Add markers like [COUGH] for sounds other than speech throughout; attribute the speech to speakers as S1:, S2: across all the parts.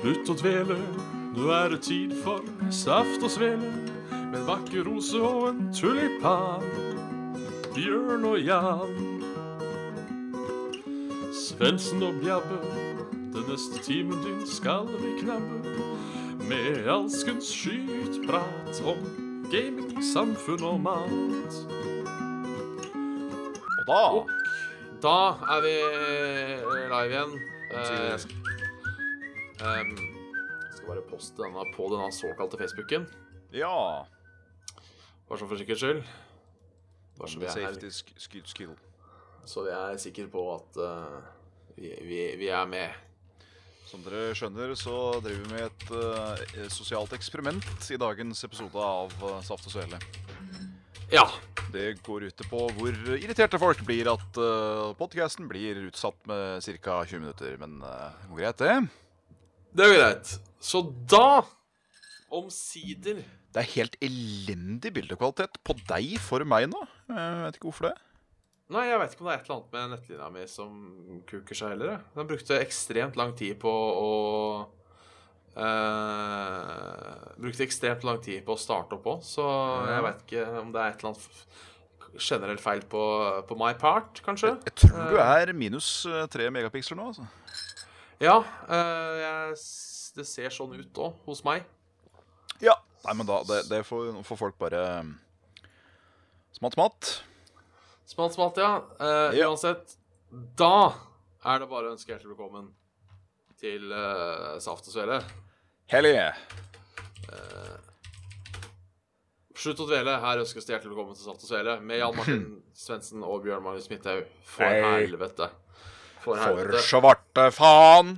S1: Slutt å dvele, nå er det tid for saft og svele. Med en vakker rose og en tulipan. Bjørn og Jan. Svendsen og Bjabbe, den neste timen din skal vi knabbe. Med alskens skytprat om gaming, samfunn og mat.
S2: Og da
S3: Da er vi live igjen. Eh, em, skal bare poste denne på denne såkalte Facebooken.
S2: Ja.
S3: Bare sånn for sikkerhets skyld. Bare så vi er,
S2: Safety
S3: her,
S2: sk- skyt skill.
S3: så vi er sikre på at eh, vi, vi, vi er med.
S2: Som dere skjønner, så driver vi med et eh, sosialt eksperiment i dagens episode av eh, Saft og Svele.
S3: Ja.
S2: Det går ut på hvor irriterte folk blir at uh, podkasten blir utsatt med ca. 20 minutter. Men eh, det går greit, det.
S3: Det er greit. Så da, omsider
S2: Det er helt elendig bildekvalitet på deg for meg nå. Eh, Jeg vet ikke hvorfor det.
S3: Nei, jeg vet ikke om det er et eller annet med nettlinja mi som kuker seg heller. jeg. Den brukte ekstremt lang tid på å eh, Brukte ekstremt lang tid på å starte opp òg, så jeg vet ikke om det er et eller annet f- generell feil på, på my part, kanskje.
S2: Jeg tror du er minus eh, tre megapiksler nå, altså.
S3: Ja, eh, jeg, s- det ser sånn ut òg, hos meg.
S2: Ja. Nei, men da, det, det får, får folk bare mm, Smatt, smatt.
S3: Smalt, smalt, ja. Eh,
S2: Ja.
S3: Uansett, da er det bare å ønske hjertelig velkommen til eh, Saft og Svele.
S2: Hellige.
S3: Slutt å dvele. Her ønskes det hjertelig velkommen til Saft og Svele med Jan Martin Svendsen og Bjørn Magnus Midthaug. For
S2: Hei.
S3: helvete. For
S2: For
S3: helvete.
S2: svarte faen.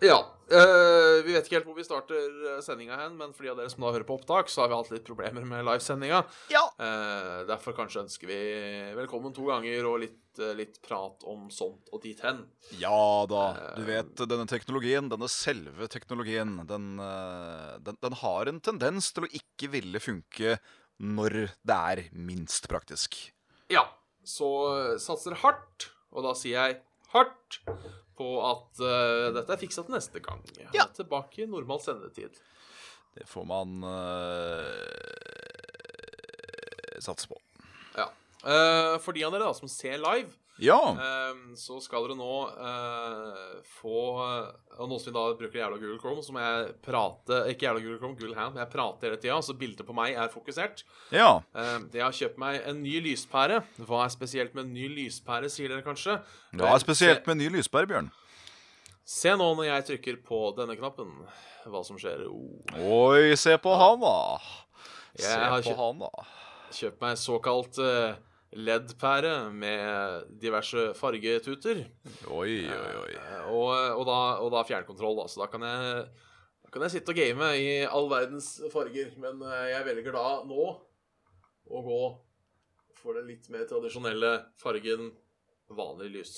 S3: Ja. eh, vi vet ikke helt hvor vi starter sendinga hen, men for de av dere som da hører på opptak, så har vi hatt litt problemer med livesendinga.
S2: Ja.
S3: Eh, derfor kanskje ønsker vi velkommen to ganger og litt, eh, litt prat om sånt og dit hen.
S2: Ja da.
S3: Eh.
S2: Du vet, denne teknologien, denne selve teknologien, den, eh, den, den har en tendens til å ikke ville funke når det er minst praktisk.
S3: Ja, så eh, satser hardt, og da sier jeg hardt, på at eh, dette er fiksa til neste gang.
S2: Ja.
S3: Tilbake i normal sendetid.
S2: Det får man eh, satse på.
S3: Ja. Eh, for de av dere da som ser live,
S2: Ja.
S3: eh, så skal dere nå eh, få eh, Og nå som vi da bruker jævla Google Chrome, så må jeg prate Ikke jævla Google Chrome, Google Hand, men jeg prater hele tida, så bildet på meg er fokusert.
S2: Ja.
S3: Eh, jeg har kjøpt meg en ny lyspære. Hva er spesielt med en ny lyspære, sier dere kanskje? Eh,
S2: Ja, spesielt med ny lyspære, Bjørn.
S3: Se nå når jeg trykker på denne knappen, hva som skjer. Oh.
S2: Oi, se på han, da. Se
S3: Jeg har
S2: på
S3: ikke-
S2: han, da.
S3: Kjøp meg såkalt eh, LED-pære med diverse fargetuter.
S2: Oi, oi, oi.
S3: Eh, Og, og, da, og da fjernkontroll, da. Så da kan jeg, da kan jeg sitte og game i all verdens farger. Men eh, jeg velger da nå å gå for den litt mer tradisjonelle fargen vanlig lys.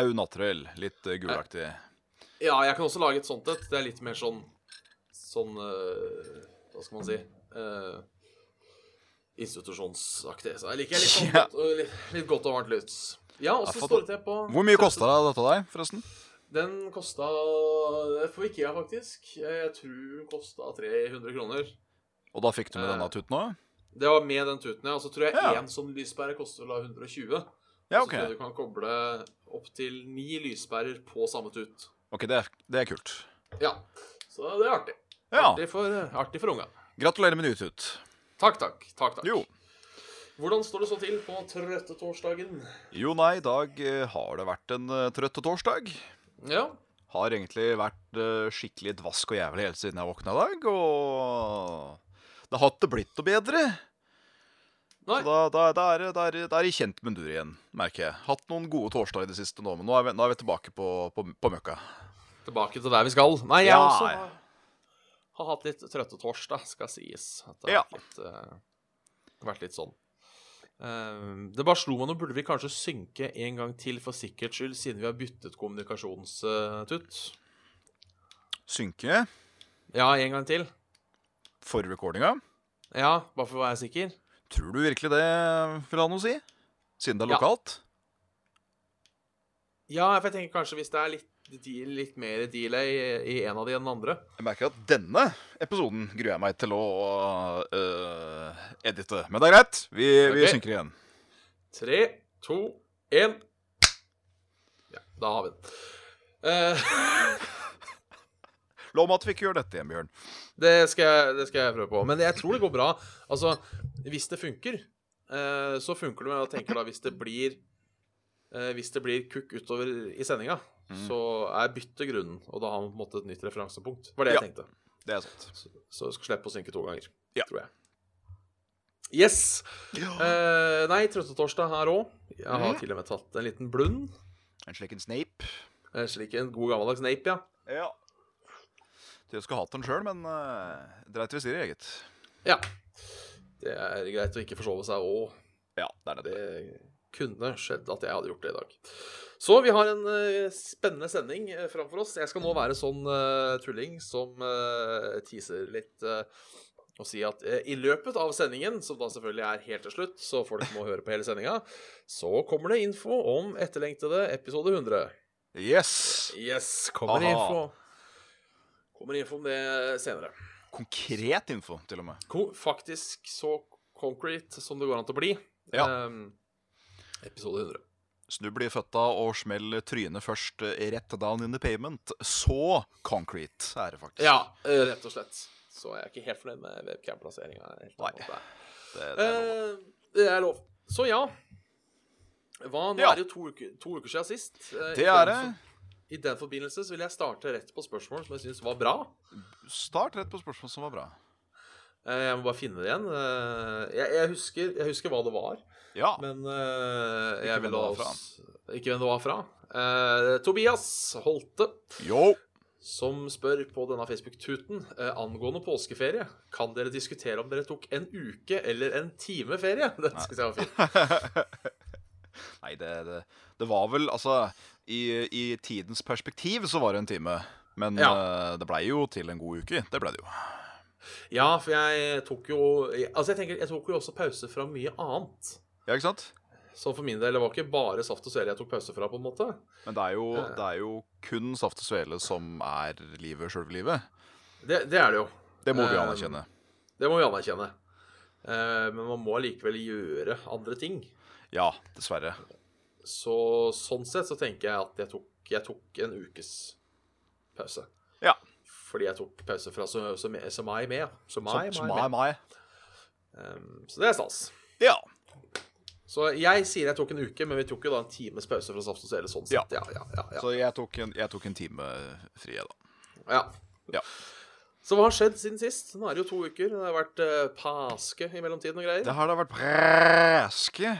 S2: Au naturell. Litt eh, gulaktig.
S3: Ja, jeg kan også lage et sånt et. Det er litt mer sånn Sånn eh, Hva skal man si? Eh, institusjonsaktig. Så jeg liker litt, sånn
S2: [LAUGHS] Ja.
S3: godt, og litt, litt godt og varmt lys. Ja, og så
S2: for-
S3: står det til på
S2: Hvor mye kosta dette deg, forresten?
S3: Den kosta det er For Ikea, faktisk. Jeg tror den kosta 300 kroner.
S2: Og da fikk du med denne
S3: Eh,
S2: tuten òg?
S3: Det var med den tuten, ja. Og så tror jeg
S2: Ja.
S3: én sånn lyspære koster vel da 120.
S2: Ja,
S3: Så tror jeg
S2: ok.
S3: du kan koble opp til ni lyspærer på samme tut.
S2: Ok, det er, det er kult.
S3: Ja. Så det er artig.
S2: Ja.
S3: Artig for, artig for unga.
S2: Gratulerer med ny tut.
S3: Takk, takk. takk, takk.
S2: Jo.
S3: Hvordan står det så til på trøtte torsdagen?
S2: Jo, nei, i dag eh, har det vært en eh, trøtt torsdag.
S3: Ja.
S2: Har egentlig vært eh, skikkelig dvask og jævlig helt siden jeg våkna i dag, og det har ikke blitt noe bedre.
S3: Nei.
S2: Så da, da, da, er, det- da, er, det- da er jeg i kjent mundur igjen, merker jeg. Hatt noen gode torsdager i det siste nå, men nå er vi, nå er vi tilbake på, på, på møkka.
S3: Tilbake til der vi skal. Nei, jeg
S2: Ja,
S3: også
S2: ja.
S3: har, har hatt litt trøtte torsdag, skal sies. At det
S2: Ja.
S3: har vært litt, eh, vært litt sånn. Eh, det bare slo meg nå burde vi kanskje synke en gang til for sikkerhets skyld, siden vi har byttet kommunikasjonstut.
S2: Synke
S3: ja, en gang til.
S2: for recordinga.
S3: Ja, bare for å være sikker.
S2: Tror du virkelig det vil ha noe å si? Siden det er
S3: Ja.
S2: lokalt?
S3: Ja, for jeg tenker kanskje hvis det er litt deal, litt mer delay i en av de enn den andre.
S2: Jeg merker at denne episoden gruer jeg meg til å øh, edite. Men det er greit. Vi, vi
S3: Ok.
S2: synker igjen.
S3: Tre, to, én. Ja, da har vi den. Eh,
S2: Lov meg at vi ikke gjør dette igjen, Bjørn.
S3: det, skal jeg, det skal jeg prøve på. Men jeg tror det går bra. Altså, hvis det funker, eh, så funker det. Men jeg tenker da hvis det blir eh, Hvis det blir kukk utover i sendinga,
S2: Mm.
S3: så er bytte grunnen. Og da har man på en måte et nytt referansepunkt. Var det
S2: Ja.
S3: jeg tenkte.
S2: Det er sant.
S3: Så, så skal slippe å synke to ganger.
S2: Ja.
S3: Tror jeg. Yes! Eh, nei, Trøndetorsdag her òg. Jeg har
S2: Mhm.
S3: til og med tatt en liten blund.
S2: En slik en Snape.
S3: Eh, Slik en god gammeldags nape, ja.
S2: Ja. Dere skulle hatt den sjøl, men uh, dreit vi sier, eget.
S3: Ja. Det er greit å ikke forsove seg òg.
S2: Ja, det er det.
S3: Det kunne skjedd at jeg hadde gjort det i dag. Så vi har en eh, spennende sending eh, framfor oss. Jeg skal nå være sånn eh, tulling som eh, teaser litt eh, og si at eh, i løpet av sendingen, som da selvfølgelig er helt til slutt, så folk må høre på hele sendinga, så kommer det info om etterlengtede episode 100.
S2: Yes!
S3: Yes, kommer det
S2: Aha.
S3: info. Kommer info om det senere.
S2: Konkret info, til og med.
S3: Ko faktisk så concrete som det går an til å bli.
S2: Ja.
S3: Ehm, episode 100.
S2: Snubb i føtta og smell trynet først eh, rett down in the pavement. Så concrete er det faktisk.
S3: Ja, eh, rett og slett. Så jeg er ikke helt fornøyd med webcam-plasseringa. helt
S2: Nei.
S3: annet der.
S2: Det, det er lov.
S3: Eh, det er lov. Så ja. Hva, nå
S2: Ja.
S3: er det jo to uker, to uker siden sist. Eh,
S2: det
S3: i den
S2: er det.
S3: for- I den forbindelse så vil jeg starte rett på spørsmål som jeg syns var bra.
S2: Start rett på spørsmål som var bra.
S3: Eh, jeg må bare finne det igjen. Eh, jeg, jeg, husker, jeg husker hva det var.
S2: Ja.
S3: Men eh, jeg
S2: hvem
S3: vil
S2: det
S3: da
S2: var fra.
S3: også Ikke hvem det var fra. Eh, Tobias Holte,
S2: Yo!
S3: som spør på denne Facebook-tuten eh, angående påskeferie. Kan dere diskutere om dere tok en uke eller en time ferie? [LAUGHS] Det synes jeg var fint.
S2: Nei, det, det, det var vel Altså, i, i tidens perspektiv så var det en time. Men eh, det blei jo til en god uke. Det blei det jo.
S3: Ja, for jeg tok jo Altså, jeg tenker, jeg tok jo også pause fra mye annet.
S2: Ja, ikke sant?
S3: Så for min del det var ikke bare saft og svele jeg tok pause fra, på en måte.
S2: Men det er jo, det er jo kun saft og svele som er livet, sjølve livet.
S3: Det, det er det jo.
S2: Det må vi
S3: Eh,
S2: anerkjenne.
S3: Det må vi anerkjenne. Eh, men man må allikevel gjøre andre ting.
S2: Ja, dessverre.
S3: Så sånn sett så tenker jeg at jeg tok, jeg tok en ukes pause.
S2: Ja.
S3: Fordi jeg tok pause fra så, så, me- så mai med. ja. Så mai,
S2: Sånt som
S3: mai,
S2: er
S3: med.
S2: meg.
S3: Um, så det er stas.
S2: Ja.
S3: Så jeg sier jeg tok en uke, men vi tok jo da en times pause fra Saft og Svele. Sånn
S2: Ja.
S3: sett. Ja, ja, ja, ja.
S2: Så jeg tok en, jeg tok en time eh, fri, jeg, da.
S3: ja.
S2: Ja.
S3: Så hva har skjedd siden sist? Nå er det jo to uker. Det har vært eh, paske i mellomtiden og greier.
S2: Det har da vært preske.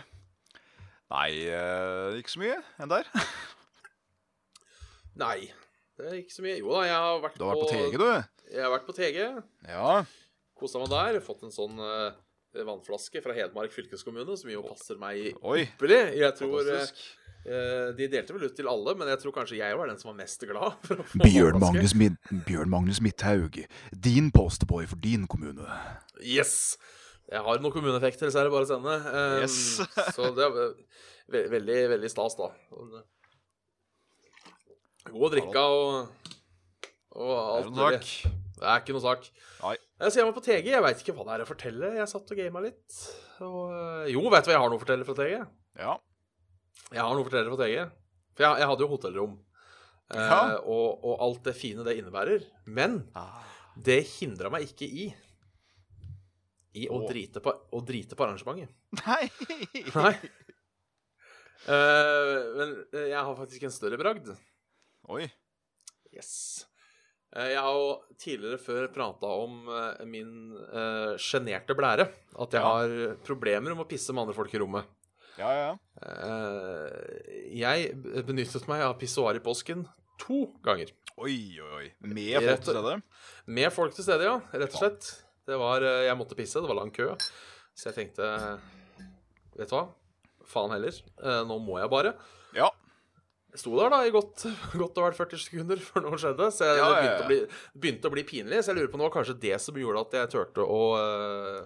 S2: Nei, eh, ikke så mye enn der.
S3: Nei. Det er ikke så mye. Jo da, jeg har vært,
S2: Du har vært på TG, du.
S3: Jeg har vært på TG.
S2: Ja.
S3: kosa meg der. Fått en sånn eh, vannflaske fra Hedmark fylkeskommune, som jo passer meg
S2: Oi.
S3: ypperlig. Jeg tror eh,
S2: Fantastisk.
S3: eh, De delte vel ut til alle, men jeg tror kanskje jeg var den som var mest glad. For å få
S2: Bjørn Magnus,
S3: vannflaske.
S2: Mid Bjørn Magnus Midthaug, din posterboy for din kommune.
S3: Yes! Jeg har noen kommuneeffekter, så er det bare å sende. Eh,
S2: Yes. [LAUGHS]
S3: så det er ve veldig, veldig stas, da. eh, God drikka og, og alt mulig. Det er ikke noe sak.
S2: Nei.
S3: Jeg ser meg på TG. Jeg veit ikke hva det er å fortelle. Jeg satt og gama litt. Og, eh, jo, veit du hva jeg har noe å fortelle fra TG?
S2: Ja.
S3: Jeg har noe å fortelle fra TG. For jeg, jeg hadde jo hotellrom. Eh,
S2: Ja.
S3: og, og alt det fine det innebærer. Men det hindra meg ikke i i å,
S2: Å.
S3: drite på, å drite på [LAUGHS] arrangementet.
S2: [LAUGHS] Nei.
S3: Nei. Eh, men eh, jeg har faktisk en større bragd.
S2: Oi.
S3: Yes. Eh, Jeg har jo tidligere før prata om eh, min eh, sjenerte blære. At jeg
S2: Ja.
S3: har problemer med å pisse med andre folk i rommet.
S2: Ja, ja.
S3: Eh, Jeg b- benyttet meg av pissoar i påsken to ganger.
S2: Oi, oi, oi. Med folk til stede?
S3: Med folk til stede, ja. Rett og slett. Det var, eh, jeg måtte pisse, det var lang kø. Så jeg tenkte eh, Vet du hva? Faen heller. Eh, Nå må jeg bare.
S2: Ja.
S3: Jeg sto der da i godt, [LAUGHS] godt og vel 40 sekunder før noe skjedde, så jeg
S2: Ja, ja, ja.
S3: Begynte, å bli, begynte å bli pinlig. Så jeg lurer på om det var kanskje det som gjorde at jeg eh, turte å øh,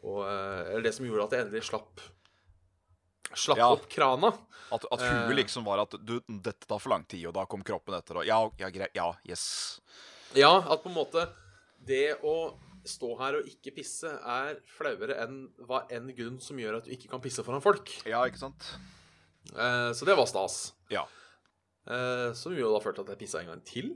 S3: å, øh, Eller det som gjorde at jeg endelig slapp slapp
S2: Ja.
S3: opp krana.
S2: At, at huet
S3: Eh.
S2: liksom var at du, dette tar for lang tid, og da kom kroppen etter. Og ja, ja, greit. Ja, yes.
S3: Ja, at på en måte Det å stå her og ikke pisse er flauere enn hva enn grunn som gjør at du ikke kan pisse foran folk.
S2: Ja, ikke sant?
S3: Eh, så det var stas.
S2: Ja.
S3: Eh, som jo da førte til at jeg pissa en gang til.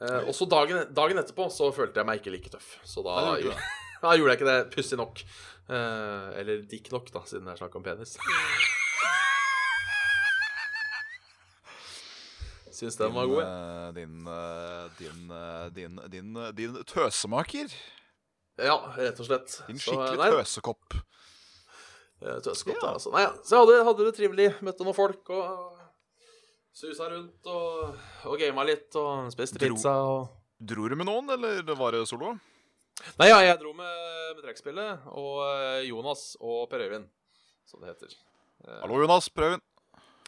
S3: Eh, og så dagen, dagen etterpå så følte jeg meg ikke like tøff. Så da
S2: Nei, du gjorde
S3: gjorde, da gjorde jeg ikke det, pussig nok. Eh, eller dick nok, da, siden det er snakk om penis. Syns den var god. jeg.
S2: Eh, Din, eh, din, eh, din, din, eh, din tøsemaker.
S3: Ja, rett og slett.
S2: Din
S3: Så, eh,
S2: skikkelig
S3: nei,
S2: tøsekopp.
S3: eh, Tøskott,
S2: Ja.
S3: ja. altså. Nei, ja, så jeg hadde, hadde det trivelig. Møtte noen folk og susa rundt og, og gama litt og spiste
S2: Dro-
S3: pizza og
S2: Dro du med noen, eller var det solo?
S3: Eh. Nei, ja, jeg dro med, med trekkspillet og eh, Jonas og Per Øyvind, som det heter. Eh,
S2: Hallo, Jonas. Prøv inn.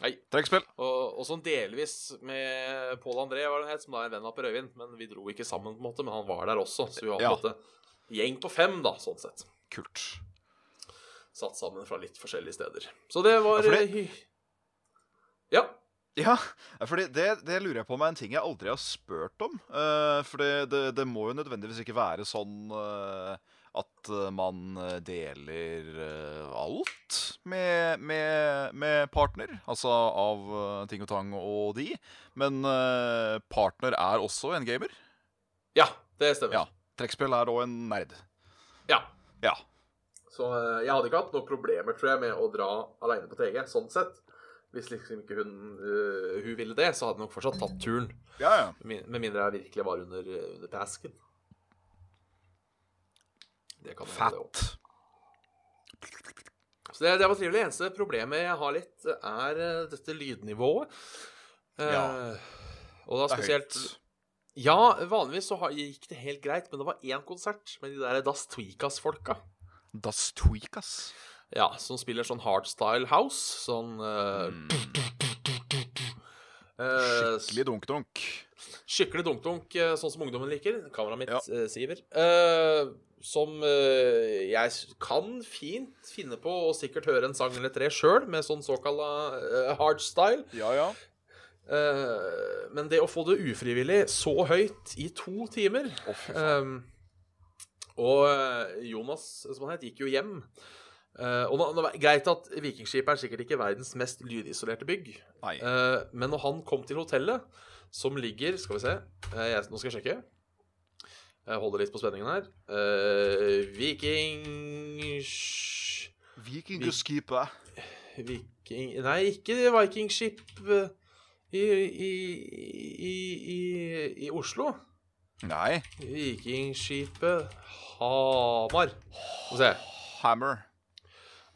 S3: Hei.
S2: Trekkspill.
S3: Og, og sånn delvis med Pål André, hva det het, som da er en venn av Per Øyvind. Men vi dro ikke sammen, på en måte, men han var der også. Så vi var på en
S2: Ja.
S3: måte gjeng på fem, da, sånn sett.
S2: Kult.
S3: Satt sammen fra litt forskjellige steder. Så det
S2: Ja,
S3: var
S2: for det-
S3: eh, hy... Ja.
S2: Ja, fordi det, det lurer jeg på meg en ting jeg aldri har spurt om. eh, for det, det, det må jo nødvendigvis ikke være sånn eh, at eh, man eh, deler eh, alt med, med, med partner. Altså av eh, ting og tang og de. Men eh, partner er også en gamer.
S3: Ja, det stemmer.
S2: Ja. Trekkspill er òg en nerd.
S3: Ja.
S2: Ja.
S3: Så eh, jeg hadde ikke hatt noen problemer, tror jeg, med å dra aleine på TG, sånn sett. Hvis liksom ikke hun, eh, hun ville det, så hadde jeg nok fortsatt tatt turen.
S2: Ja, ja.
S3: Min- Med mindre jeg virkelig var under, eh, under pasken. Det kan hende, det også.
S2: Fat.
S3: Så det, det var trivelig. Eneste problemet jeg har litt, er eh, dette lydnivået. Eh,
S2: Ja.
S3: Og da
S2: Det er
S3: spesielt
S2: høyt.
S3: Ja, vanligvis så har- gikk det helt greit, men det var én konsert med de der Das Tweakas-folka.
S2: Das tweak, ass.
S3: Ja, som spiller sånn hardstyle house. Sånn eh,
S2: Mm.
S3: eh,
S2: Skikkelig dunk-dunk.
S3: Skikkelig dunk-dunk, eh, sånn som ungdommen liker. Kameraet mitt
S2: Ja.
S3: eh, siver. Eh, som eh, jeg s- kan fint finne på og sikkert høre en sang eller tre sjøl, med sånn såkalla eh, hardstyle.
S2: Ja, ja.
S3: Eh, men det å få det ufrivillig så høyt i to timer eh, Og eh, Jonas, som han het, gikk jo hjem. Eh, og nå, nå, greit at Vikingskipet er sikkert ikke verdens mest lydisolerte bygg,
S2: Nei.
S3: Eh, men når han kom til hotellet, som ligger Skal vi se. eh, jeg, nå skal jeg sjekke. Jeg holder litt på spenningen her. Eh, Viking... sh-
S2: Vikingskipet.
S3: Viking... Nei, ikke Vikingskip eh, i, i, i, i, i Oslo.
S2: Nei.
S3: Vikingskipet Hamar. Skal vi se.
S2: Hammer.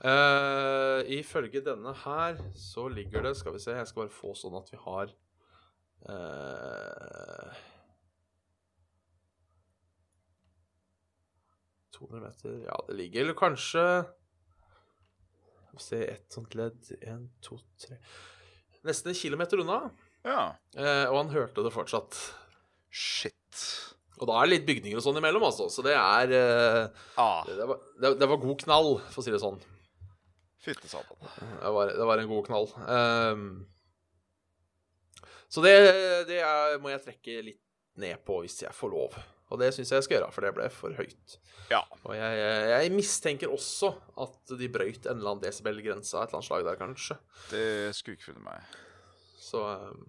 S3: Eh, ifølge denne her så ligger det Skal vi se, jeg skal bare få sånn at vi har eh, 200 meter Ja, det ligger eller kanskje Skal vi se, ett sånt ledd. Én, to, tre Nesten en kilometer unna.
S2: Ja.
S3: eh, og han hørte det fortsatt.
S2: Shit.
S3: Og da er det litt bygninger og sånn imellom, altså. Så det er eh,
S2: Ah,
S3: det, det, var, det, det var god knall, for å si det sånn.
S2: Fytte satan.
S3: Det var, det var en god knall. Ehm, så det, det er, må jeg trekke litt ned på hvis jeg får lov. Og det syns jeg jeg skal gjøre, for det ble for høyt.
S2: Ja.
S3: Og jeg, jeg, jeg mistenker også at de brøyt en eller annen desibel-grense av et eller annet slag der, kanskje.
S2: Det skulle ikke funnet meg.
S3: Så ehm,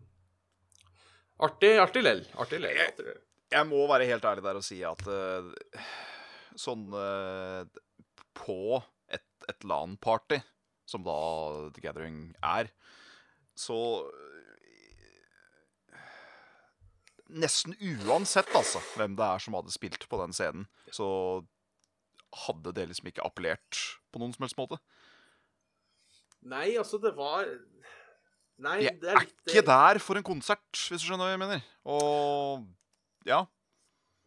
S3: artig, artig lell. Artig lell. Artig lell.
S2: Jeg må være helt ærlig der og si at eh, sånn eh, På et, et LAN-party, som da The Gathering er, så eh, Nesten uansett altså, hvem det er som hadde spilt på den scenen, så hadde det liksom ikke appellert på noen som helst måte.
S3: Nei, altså, det var Nei,
S2: Jeg
S3: det
S2: er
S3: er litt eh,
S2: ikke der for en konsert, hvis du skjønner hva jeg mener. Og ja.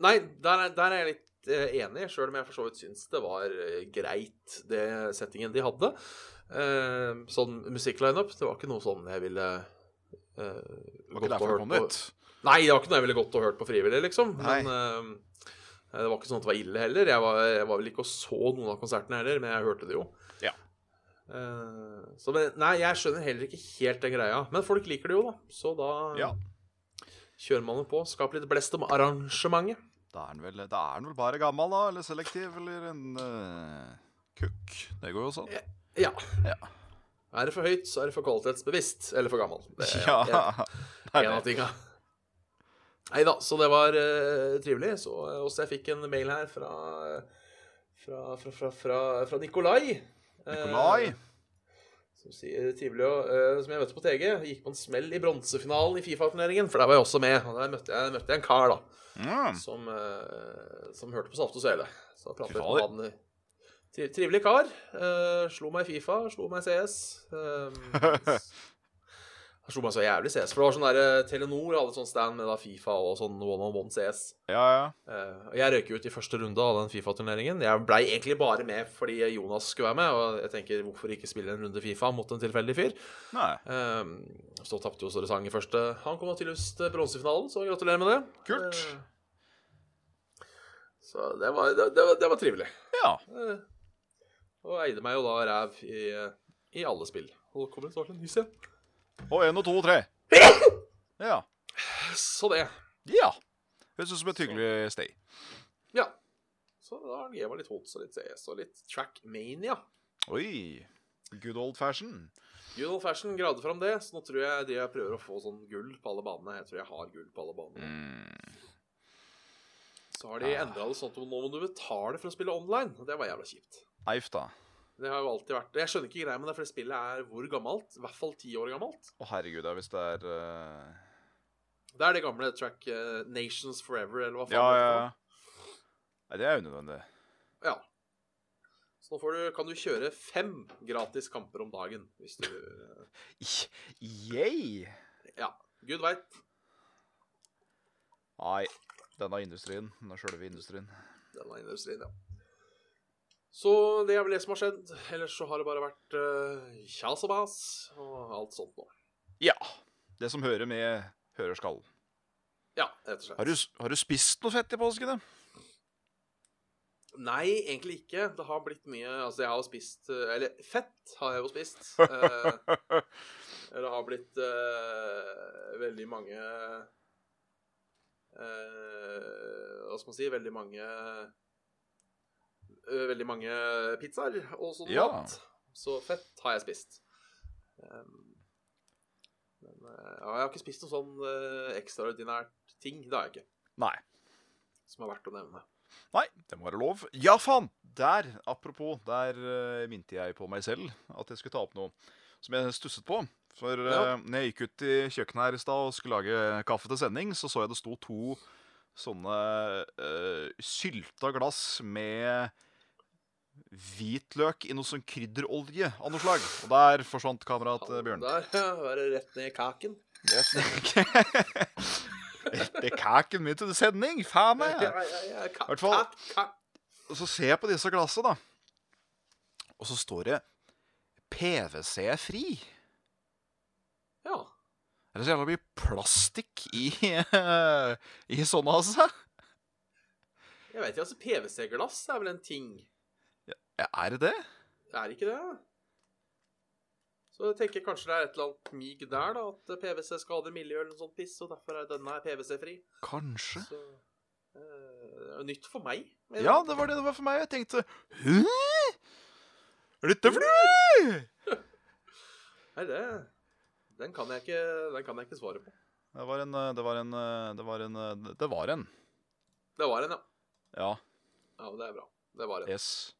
S3: Nei, der er, der er jeg litt eh, enig, sjøl om jeg for så vidt syns det var eh, greit, det settingen de hadde. Eh, sånn musikklineup, det var ikke noe sånn jeg ville eh,
S2: Det var
S3: gått
S2: ikke
S3: og
S2: derfor
S3: hørt
S2: jeg kom
S3: på-
S2: dit.
S3: Nei, det var ikke noe jeg ville gått og hørt på frivillig, liksom.
S2: Nei.
S3: Men eh, det var ikke sånn at det var ille heller. Jeg var, jeg var vel ikke og så noen av konsertene heller, men jeg hørte det jo.
S2: Ja.
S3: Eh, Så, men, nei, jeg skjønner heller ikke helt den greia. Men folk liker det jo, da. Så da
S2: Ja.
S3: kjører man det på. Skap litt blest om arrangementet.
S2: Da er den vel, da er den vel bare gammel, da? Eller selektiv? Eller en eh, kukk? Det går jo sånn.
S3: Ja.
S2: Ja.
S3: Er det for høyt, så er det for kvalitetsbevisst. Eller for gammel. Det
S2: [LAUGHS]
S3: er
S2: Ja.
S3: en,
S2: det er
S3: en av
S2: det.
S3: tinga. Nei da, så det var eh, trivelig. Så eh, også jeg fikk en mail her fra Fra, fra, fra, fra, fra Nikolai. Eh,
S2: Nikolai?
S3: Som sier trivelig å eh, Som jeg møtte på TG. Gikk på en smell i bronsefinalen i Fifa-turneringen, for der var jeg også med. Og der møtte jeg, møtte jeg en kar, da.
S2: Mm.
S3: som, eh, som hørte på Saft og Svele. Så da pratet
S2: Fy
S3: jeg med han. Tri trivelig kar. Eh, slo meg i Fifa, slo meg i CS.
S2: [LAUGHS]
S3: eh, han slo meg så jævlig i CS, for det var sånn der eh, Telenor hadde sånn stand med da Fifa og sånn one on one CS.
S2: Ja, ja.
S3: Eh, og jeg røyk jo ut i første runde av den Fifa-turneringen. Jeg blei egentlig bare med fordi Jonas skulle være med, og jeg tenker hvorfor ikke spille en runde Fifa mot en tilfeldig fyr?
S2: Nei.
S3: Um, så tapte jo Sore Sang i første. Han kom tydeligvis til bronsefinalen, så gratulerer med det.
S2: Kult.
S3: Eh, Så det var, det, det var, det var trivelig.
S2: Ja.
S3: Eh, Og eide meg jo da ræv i, i alle spill. Og kommer det snart en nys igjen.
S2: Og én og to og tre. Ja.
S3: Så det.
S2: Ja. Høres ut som et hyggelig sted.
S3: Ja. Så da har det litt hots og litt CS og litt trackmania.
S2: Oi. Good old fashion.
S3: Good old fashion grader fram det, så nå tror jeg de jeg prøver å få sånn gull på alle banene. Jeg tror jeg har gull på alle banene.
S2: Mm.
S3: Så har de endra det sånn at nå må du betale for å spille online. Og det var jævla kjipt.
S2: Eif, da.
S3: Det har jo alltid vært Jeg skjønner ikke greia med det, for det spillet er hvor gammelt? I hvert fall ti år gammelt.
S2: Å, herregud, ja, hvis det er eh,
S3: Det er det gamle track eh, Nations Forever, eller hva faen
S2: Ja,
S3: det
S2: ja.
S3: heter.
S2: ja. Nei, det er unødvendig.
S3: Ja. Så nå får du, kan du kjøre fem gratis kamper om dagen, hvis du eh,
S2: Yay!
S3: Gud veit.
S2: Nei, denne industrien. Denne sjølve industrien.
S3: Denne industrien, ja. Så det er vel det som har skjedd. Ellers så har det bare vært eh, kjas og mas og alt sånt nå.
S2: Ja. Det som hører med, hører skal.
S3: Ja, rett og slett.
S2: Har du, har du spist noe fett i påsken, da?
S3: Nei, egentlig ikke. Det har blitt mye Altså, jeg har jo spist eh, Eller fett har jeg jo spist. Eh, Det har blitt eh, veldig mange eh, Hva skal man si Veldig mange eh, Veldig mange pizzaer og sånn
S2: Ja.
S3: mat. Så fett har jeg spist. Um, men eh, ja, jeg har ikke spist noe sånn eh, ekstraordinært ting. Det har jeg ikke.
S2: Nei.
S3: Som er verdt å nevne.
S2: Nei, det må være lov. Ja, faen! Der, apropos, der uh, minte jeg på meg selv at jeg skulle ta opp noe som jeg stusset på. For eh,
S3: Ja.
S2: når jeg gikk ut i kjøkkenet her i stad og skulle lage kaffe til sending, så så jeg det sto to sånne eh, sylta glass med hvitløk i noe sånn krydderolje av noe slag. Og der forsvant kamerat eh, Bjørn.
S3: Der [LAUGHS] er det rett ned i kaken.
S2: [LAUGHS] Det er kaken min til sending! Faen meg!
S3: Ja, ja, ja, ka-
S2: Hvert fall-
S3: ka- ka-
S2: Og så ser jeg på disse glassene, da. Og så står det PVC-fri.
S3: Ja.
S2: Er det så jævla mye plastikk i, [LAUGHS] eh, i sånne, altså?
S3: Jeg vet ikke, altså PVC-glass er vel en ting?
S2: Ja, er det det?
S3: Det er ikke det? Så jeg tenker kanskje det er et eller annet mig der, da. At PVC skader miljøet eller noe sånt sånn piss, og derfor er denne her PVC-fri.
S2: Kanskje.
S3: Så eh, det er nytt for meg. men-
S2: Ja, det var det det var for meg. Jeg tenkte Hæ? Er dette for noe?
S3: Nei, det den kan, jeg ikke, den kan jeg ikke svare på.
S2: Det var en eh, Det var en eh, Det var en eh, Det var en.
S3: Det var en, ja.
S2: Ja.
S3: Ja, Det er bra. Det var en.
S2: Yes.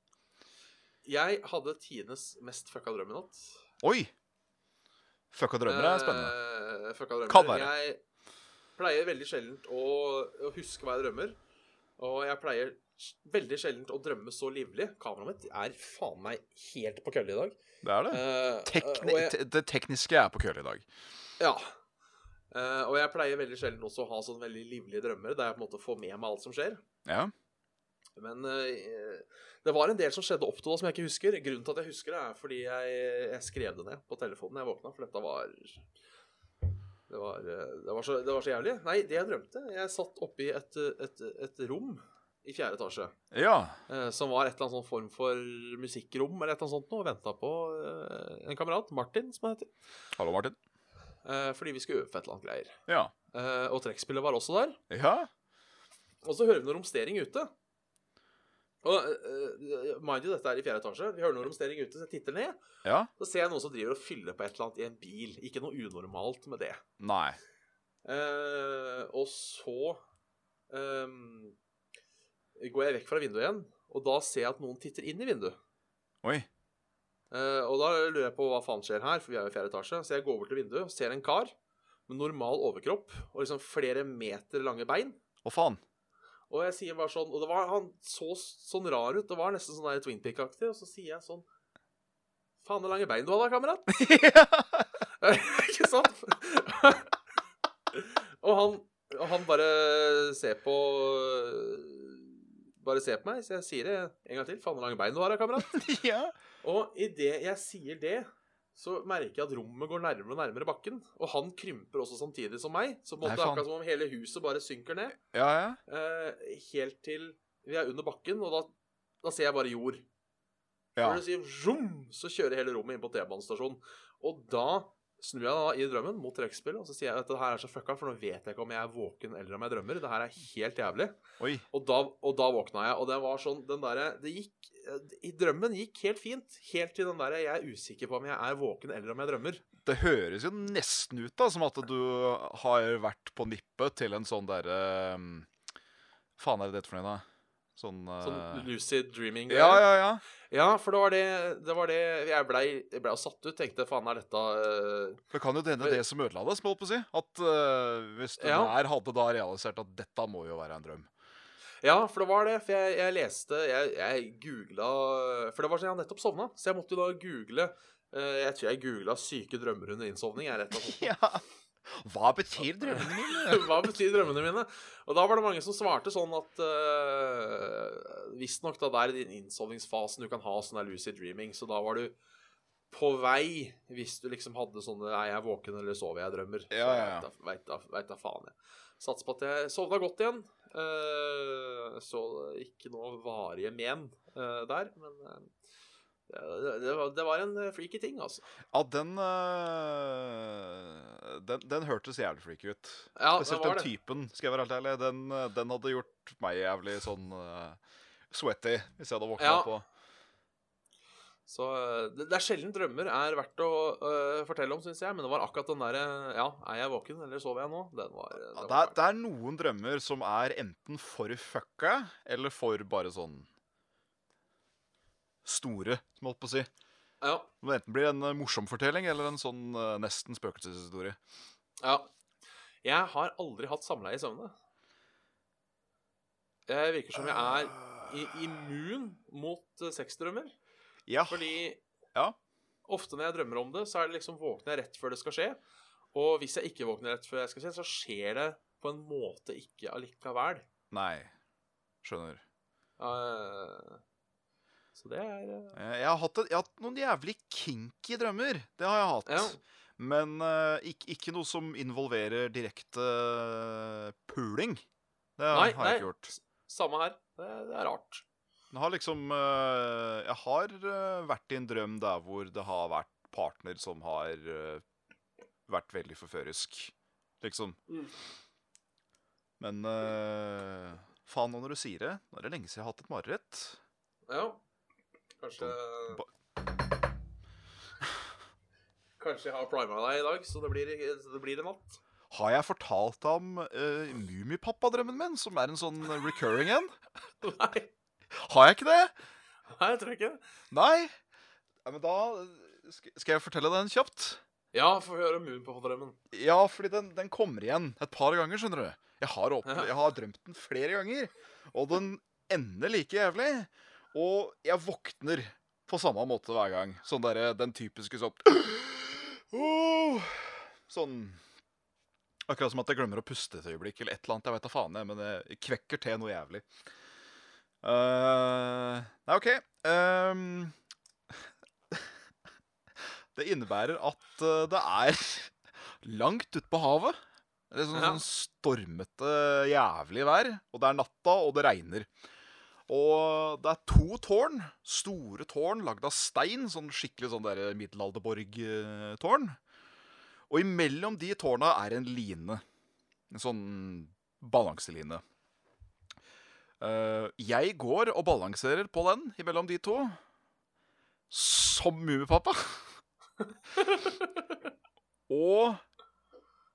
S3: Jeg hadde tidenes mest fucka drøm i natt.
S2: Oi! Fucka drømmer er spennende.
S3: Eh, fucka drømmer.
S2: Kan være.
S3: Jeg pleier veldig sjeldent å, å huske hva jeg drømmer. Og jeg pleier s- veldig sjeldent å drømme så livlig. Kameraet mitt er faen meg helt på kølle i dag.
S2: Det er det.
S3: Eh,
S2: Tekni
S3: og jeg,
S2: te- det tekniske er på kølle i dag.
S3: ja. Eh, og jeg pleier veldig sjelden også å ha sånne veldig livlige drømmer der jeg på en måte får med meg alt som skjer.
S2: Ja.
S3: Men eh, det var en del som skjedde opp til da som jeg ikke husker. Grunnen til at jeg husker det, er fordi jeg, jeg skrev det ned på telefonen da jeg våkna, for dette var det var, eh, det, var så, det var så jævlig. Nei, det jeg drømte Jeg satt oppi et, et, et rom i fjerde etasje.
S2: Ja.
S3: Eh, som var et eller annet sånn form for musikkrom eller et eller annet sånt nå, og venta på eh, en kamerat, Martin, som han heter,
S2: Hallo, Martin.
S3: eh, fordi vi skulle øve på et eller annet greier.
S2: Ja.
S3: Eh, og trekkspillet var også der.
S2: Ja.
S3: Og så hører vi noe romstering ute. Og eh, eh, Mind you, dette er i fjerde etasje. Vi hører noe romstering ute, så jeg titter ned.
S2: ja.
S3: Så ser jeg noen som driver og fyller på et eller annet i en bil. Ikke noe unormalt med det.
S2: Nei.
S3: Eh, og så ehm, går jeg vekk fra vinduet igjen, og da ser jeg at noen titter inn i vinduet.
S2: Oi.
S3: Eh, og da lurer jeg på hva faen skjer her, for vi er jo i fjerde etasje. Så jeg går bort til vinduet og ser en kar med normal overkropp og liksom flere meter lange bein.
S2: Å, faen.
S3: Og jeg sier bare sånn Og det var, han så sånn rar ut. Det var nesten sånn der Twin Pick-aktig. Og så sier jeg sånn Faen, det lange bein du har da, kamerat.
S2: [LAUGHS]
S3: [LAUGHS] Ikke sant? og han, og han bare ser på Bare ser på meg, så jeg sier det en gang til. Faen, hvor lange bein du har, da, kamerat.
S2: [LAUGHS] ja.
S3: Og idet jeg sier det, så merker jeg at rommet går nærmere og nærmere bakken. Og han krymper også samtidig som meg. Så på en
S2: Nei,
S3: måte
S2: faen.
S3: akkurat som om hele huset bare synker ned.
S2: Ja, ja.
S3: Eh, helt til vi er under bakken, og da, da ser jeg bare jord.
S2: Ja.
S3: Når du sier zoom, så kjører hele rommet inn på T-banestasjonen. Og da snur jeg da i drømmen mot trekkspillet, og så sier jeg at det her er så fucka, for nå vet jeg ikke om jeg er våken eller om jeg drømmer. Det her er helt jævlig.
S2: Oi.
S3: Og da, og da våkna jeg, og det var sånn den derre Det gikk eh, I drømmen gikk helt fint, helt til den derre jeg er usikker på om jeg er våken eller om jeg drømmer.
S2: Det høres jo nesten ut da, som at du har vært på nippet til en sånn derre um, Faen er det dette for noe, da? Sånn,
S3: Sånn
S2: eh,
S3: lucid dreaming.
S2: Ja, ja, ja.
S3: ja, for det var det, det, var det Jeg blei ble jo satt ut. Tenkte faen, er dette eh,
S2: Det kan jo hende det som ødela det, som jeg holdt på å si. At eh, hvis du
S3: Ja.
S2: der hadde da realisert at dette må jo være en drøm.
S3: Ja, for det var det. For jeg, jeg leste Jeg, jeg googla For det var sånn jeg hadde nettopp sovna, så jeg måtte jo da google eh, Jeg tror jeg googla 'syke drømmer under innsovning'. Jeg rett og slett.
S2: [LAUGHS] Ja. Hva betyr drømmene mine?
S3: [LAUGHS] Hva betyr drømmene mine? Og da var det mange som svarte sånn at uh, Visstnok da det er i den innsovningsfasen du kan ha sånn der lucid dreaming, så da var du på vei hvis du liksom hadde sånne 'er jeg våken, eller sover jeg?' drømmer. Så
S2: Ja, ja, ja.
S3: jeg vet da- Vet da- vet da faen, jeg. Satser på at jeg sovna godt igjen. Eh, så ikke noe varige men eh, der, men eh, det, det, var, det var en eh, freaky ting, altså.
S2: Ja, den, eh, den Den hørtes jævlig freaky ut.
S3: Ja, det
S2: Spesielt
S3: var
S2: den
S3: det.
S2: typen, skal jeg være helt ærlig. Den, eh, den hadde gjort meg jævlig sånn eh, sweaty hvis jeg hadde våkna
S3: Ja.
S2: på.
S3: Så øh, det, det er sjelden drømmer er verdt å øh, fortelle om, syns jeg. Men det var akkurat den derre Ja, er jeg våken, eller sover jeg nå? Den var, eh, den
S2: Ja,
S3: var
S2: det, er,
S3: fæl.
S2: det er noen drømmer som er enten for fucka eller for bare sånn store, som jeg holdt på å si.
S3: ja,
S2: Som enten blir en eh, morsom fortelling eller en sånn eh, nesten spøkelseshistorie.
S3: ja. Jeg har aldri hatt samleie i søvne. Jeg virker som jeg er i, immun mot øh, sexdrømmer.
S2: Ja.
S3: Fordi
S2: Ah. Ja.
S3: ofte når jeg drømmer om det, så er det liksom våkner jeg rett før det skal skje. Og hvis jeg ikke våkner rett før det skal skje, så skjer det på en måte ikke allikevel.
S2: Nei. Skjønner.
S3: Eh, så det er øh,
S2: Eh, Jeg har, hatt et, jeg har hatt noen jævlig kinky drømmer. Det har jeg hatt.
S3: eh, Ja.
S2: Men eh, ikke, ikke noe som involverer direkte eh, puling. Det
S3: Nei,
S2: har jeg
S3: nei.
S2: ikke gjort.
S3: Samme her. Det, det er rart.
S2: Jeg har liksom eh, Jeg har eh, vært i en drøm der hvor det har vært partner som har eh, vært veldig forførisk, liksom.
S3: Mm.
S2: Men eh, faen, nå når du sier det Nå er det lenge siden jeg har hatt et mareritt.
S3: Ja. Kanskje Kanskje jeg har prima deg i dag, så det blir, så det blir en natt. [LAUGHS]
S2: Har jeg fortalt deg om uh, Mummipappa-drømmen min, som er en sånn recurring en?
S3: Nei,
S2: Har jeg ikke det?
S3: nei, jeg tror ikke det.
S2: Nei? Nei, men da eh, sk- Skal jeg fortelle den kjapt?
S3: Ja, få høre Moonpop-drømmen.
S2: Ja, fordi den, den kommer igjen et par ganger, skjønner du. Jeg har, opp,
S3: Ja.
S2: jeg har drømt den flere ganger, og den ender like jævlig. Og jeg våkner på samme måte hver gang. Sånn derre den typiske sånn [CLEARS THROAT] Åh! Sånn Akkurat som at jeg glemmer å puste et øyeblikk, eller et eller annet. Jeg vet da faen, jeg, men det kvekker til noe jævlig. Eh, nei, OK. Ehm, [LAUGHS] [LAUGHS] det innebærer at eh, det er langt ute på havet. Det er sånn,
S3: Ja.
S2: sånn stormete, jævlig vær. Og det er natta, og det regner. Og det er to tårn. Store tårn lagd av stein. Sånn skikkelig sånn der middelalderborg-tårn. Og imellom de tårna er en line. En sånn balanseline. Eh, jeg går og balanserer på den imellom de to. Som Mummipappa. [LAUGHS] og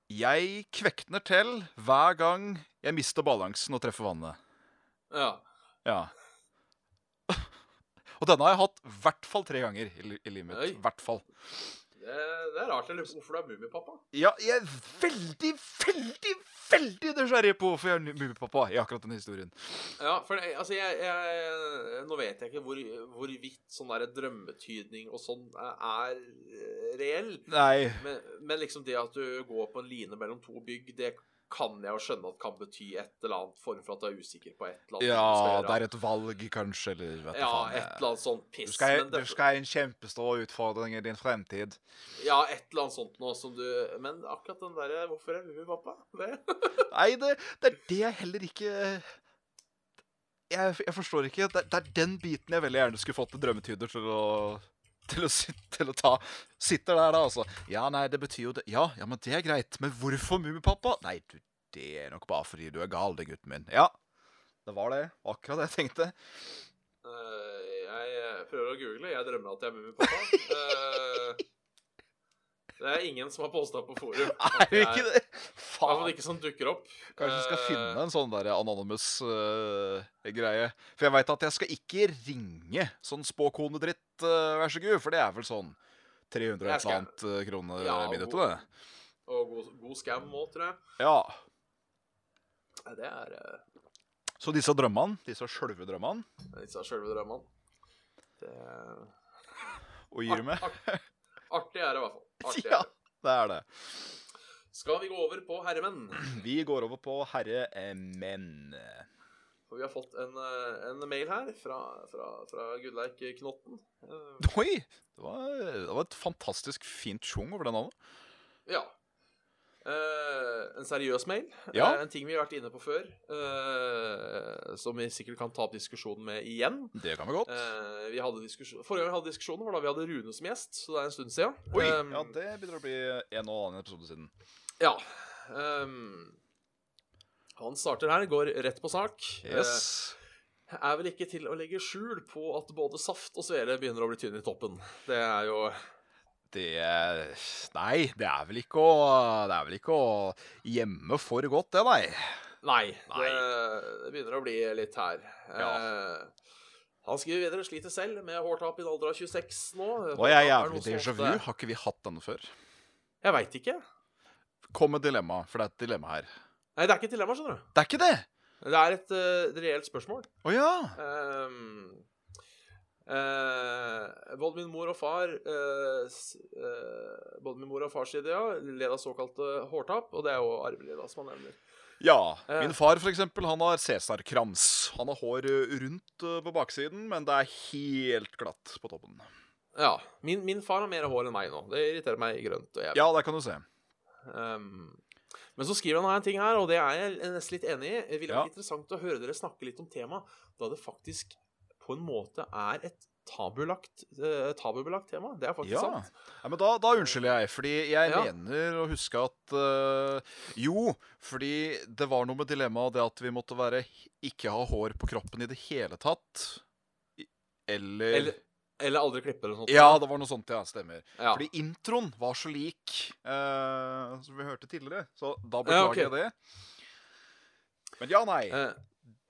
S2: jeg kvekner til hver gang jeg mister balansen og treffer vannet.
S3: Ja.
S2: Ja. [LAUGHS] og denne har jeg hatt i hvert fall tre ganger i, li- i livet mitt.
S3: Oi.
S2: I hvert fall.
S3: Det, det er rart jeg lurer på hvorfor du er Mummipappa.
S2: Ja, jeg er veldig, veldig, veldig nysgjerrig på hvorfor jeg er Mummipappa i akkurat denne historien.
S3: Ja, for det- altså jeg, jeg, Nå vet jeg ikke hvor, hvorvidt sånn der drømmetydning og sånn er eh, reell.
S2: Nei.
S3: Men, men liksom det at du går på en line mellom to bygg, det kan jeg jo skjønne at kan bety et eller annet form for at du er usikker på et eller annet.
S2: Ja,
S3: du skal
S2: det
S3: gjøre.
S2: er et valg, kanskje, eller vet du
S3: ja,
S2: faen.
S3: et
S2: jeg-
S3: eller annet sånt piss.
S2: Du skal,
S3: men
S2: du
S3: det,
S2: skal ha en kjempestor utfordring i din fremtid.
S3: Ja, et eller annet sånt noe som du Men akkurat den derre Hvorfor er Mumu pappa? Det.
S2: Nei, det, det er det jeg heller ikke eh, Jeg, jeg forstår ikke. Det, det er den biten jeg veldig gjerne skulle fått en drømmetyder til å til å, sit- til å ta Sitter der, da, altså. Ja, nei, det betyr jo det. Ja, ja, men det er greit. Men hvorfor Mummipappa? Nei, du, det er nok bare fordi du er gal, det, gutten min. Ja. Det var det. Akkurat det jeg tenkte.
S3: Eh, jeg eh, prøver å google. Jeg drømmer at jeg er Mumu pappa. Eh, det er ingen som har posta på forum.
S2: Er det ikke det?
S3: I hvert fall
S2: Faen.
S3: ikke som dukker opp.
S2: Kanskje jeg skal
S3: Eh,
S2: finne en sånn der anonymous-greie. for jeg veit at jeg skal ikke ringe sånn spåkonedritt, eh, vær så god, for det er vel sånn 300 og
S3: Jeg
S2: et eller
S3: skal-
S2: annet eh, kroner
S3: Ja,
S2: i minuttet,
S3: hvor-
S2: det.
S3: Og god, god scam òg, tror jeg.
S2: Ja.
S3: Nei, Det er eh,
S2: Så disse drømmene, disse sjølve drømmene,
S3: disse sjølve drømmene. Det er
S2: og
S3: Ah,
S2: gir meg,
S3: Artig er det i hvert fall. Artig er
S2: [LAUGHS] Ja.
S3: det.
S2: det er det.
S3: Skal vi gå over på herremenn?
S2: Vi går over på herre eh, menn.
S3: For vi har fått en, eh, en mail her fra, fra, fra Gudleik Knotten. Eh,
S2: Oi! Det var, det var et fantastisk fint sjung over det navnet.
S3: Ja. Eh, en seriøs mail.
S2: Ja.
S3: Eh, en ting vi har vært inne på før, eh, som vi sikkert kan ta opp diskusjonen med igjen.
S2: Det kan vi godt.
S3: Eh, vi hadde diskusjon- Forrige gang vi hadde diskusjoner, var da vi hadde Rune som gjest, så det er en stund siden.
S2: Oi!
S3: Eh,
S2: Ja, det begynner å bli en og annen episode siden.
S3: ja. Eh, han starter her, går rett på sak.
S2: Yes.
S3: Eh, er vel ikke til å legge skjul på at både saft og svele begynner å bli tynne i toppen. Det er jo
S2: Det Nei, det er vel ikke å Det er vel ikke å gjemme for godt, det, nei.
S3: Nei,
S2: Nei.
S3: Det, det begynner å bli litt her.
S2: Ja.
S3: Eh, han skriver videre sliter selv med hårtap i en alder av 26 nå.
S2: Nå er jeg
S3: Hårtap er noe
S2: jævlig
S3: som
S2: déjà vu.
S3: ofte-
S2: Har ikke vi hatt denne før?
S3: Jeg veit ikke.
S2: Kom med dilemma, for det er et dilemma her.
S3: Nei, det er ikke et dilemma, skjønner du.
S2: Det er ikke det!
S3: Det er et eh, reelt spørsmål.
S2: Å ja.
S3: Ehm, eh, både min mor og far eh, s- eh, Både min mor og fars side ja, led av såkalte hårtap, og det er jo arvelig, da, som han nevner.
S2: Ja.
S3: Eh.
S2: Min far, for eksempel, han har cæsarkrans. Han har hår eh, rundt eh, på baksiden, men det er helt glatt på toppen.
S3: Ja. Min, min far har mer hår enn meg nå. Det irriterer meg grønt. og jeg
S2: Ja, der kan du se.
S3: Um, men så skriver han her en ting her, og det er jeg nesten litt enig i. Det ville
S2: Ja.
S3: vært interessant å høre dere snakke litt om temaet, da det faktisk på en måte er et tabulagt, eh, tabubelagt tema. Det er faktisk
S2: Ja.
S3: sant.
S2: Nei, men da, da unnskylder jeg, fordi jeg
S3: Ja.
S2: mener å huske at eh, Jo, fordi det var noe med dilemmaet det at vi måtte være ikke ha hår på kroppen i det hele tatt. i- Eller,
S3: Eller, eller aldri klippe eller noe sånt.
S2: Ja, det var noe sånt, ja. Stemmer.
S3: Ja.
S2: Fordi introen var så lik eh, som vi hørte tidligere, så da beklager
S3: Ja, ok.
S2: jeg det. Men ja, nei.
S3: Eh,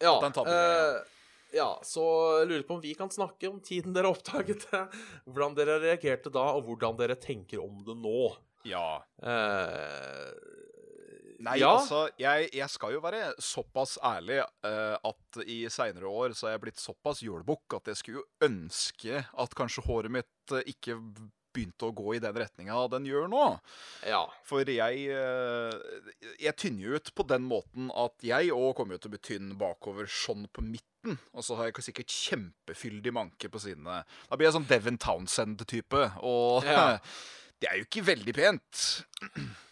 S3: ja,
S2: At det er en tabubegreie,
S3: eh, ja, så lurer på om vi kan snakke om tiden dere oppdaget det, hvordan dere reagerte da, og hvordan dere tenker om det nå.
S2: ja.
S3: Eh,
S2: Nei,
S3: ja.
S2: altså, jeg, jeg skal jo være såpass ærlig eh, at i seinere år så er jeg blitt såpass jålebukk at jeg skulle jo ønske at kanskje håret mitt eh, ikke begynte å gå i den retninga den gjør nå.
S3: ja.
S2: For jeg eh, Jeg tynner jo ut på den måten at jeg òg kommer jo til å bli tynn bakover sånn på midten. Og så har jeg sikkert kjempefyldig manke på sidene. Da blir jeg sånn Devon Townsend-type. Og
S3: Ja.
S2: [LAUGHS] Det er jo ikke veldig pent.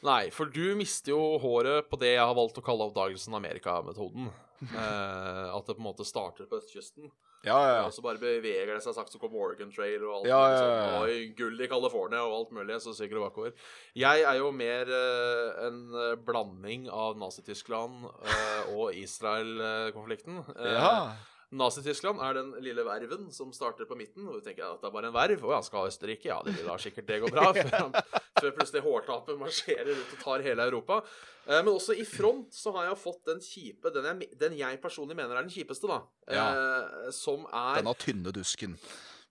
S3: Nei, for du mister jo håret på det jeg har valgt å kalle oppdagelsen
S2: [LAUGHS]
S3: av Amerika-metoden. Eh, at det på en måte starter på østkysten,
S2: Ja, ja, ja.
S3: og så bare beveger det seg sakte. Så kommer Oregon Trail og alt
S2: Ja,
S3: mulig
S2: ja,
S3: sånt,
S2: ja, ja.
S3: og i gull i California og alt mulig, så syker det bakover. Jeg er jo mer eh, en eh, blanding av Nazi-Tyskland eh, og Israel-konflikten. Eh,
S2: ja.
S3: Nazi-Tyskland er den lille verven som starter på midten. Og du tenker at det er bare en verv. Å ja, skal Østerrike? Ja, det vil da sikkert det gå bra. Før før plutselig hårtapet marsjerer ut og tar hele Europa. Eh, Men også i front så har jeg fått den kjipe, den jeg, den jeg personlig mener er den kjipeste, da. eh, Som er
S2: Denne tynne dusken.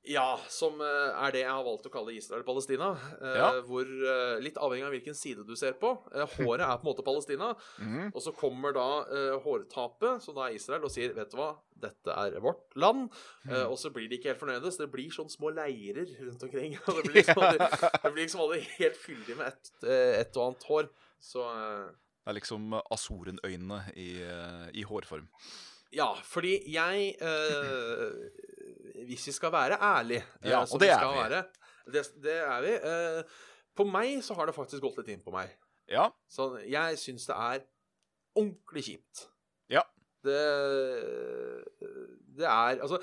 S3: ja, som eh, er det jeg har valgt å kalle Israel-Palestina. eh,
S2: Ja.
S3: Hvor, eh, litt avhengig av hvilken side du ser på, eh, håret er på en måte Palestina.
S2: Mhm.
S3: Og så kommer da eh, hårtapet, som da er Israel, og sier 'Vet du hva, dette er vårt land'. Eh,
S2: Mm.
S3: og så blir de ikke helt fornøyde, så det blir sånne små leirer rundt omkring. [LAUGHS] Og det
S2: [LAUGHS]
S3: blir liksom aldri, det blir liksom aldri helt fyldig med ett eh, ett og annet hår. Så eh,
S2: Det er liksom Azorenøynene i, eh, i hårform.
S3: Ja, fordi jeg eh, Hvis vi skal være ærlige, eh,
S2: Ja,
S3: som
S2: og det er
S3: skal
S2: vi.
S3: Være, det, det er vi. eh, på meg så har det faktisk gått litt inn på meg.
S2: Ja.
S3: Så jeg syns det er ordentlig kjipt.
S2: Ja.
S3: Det, det er Altså,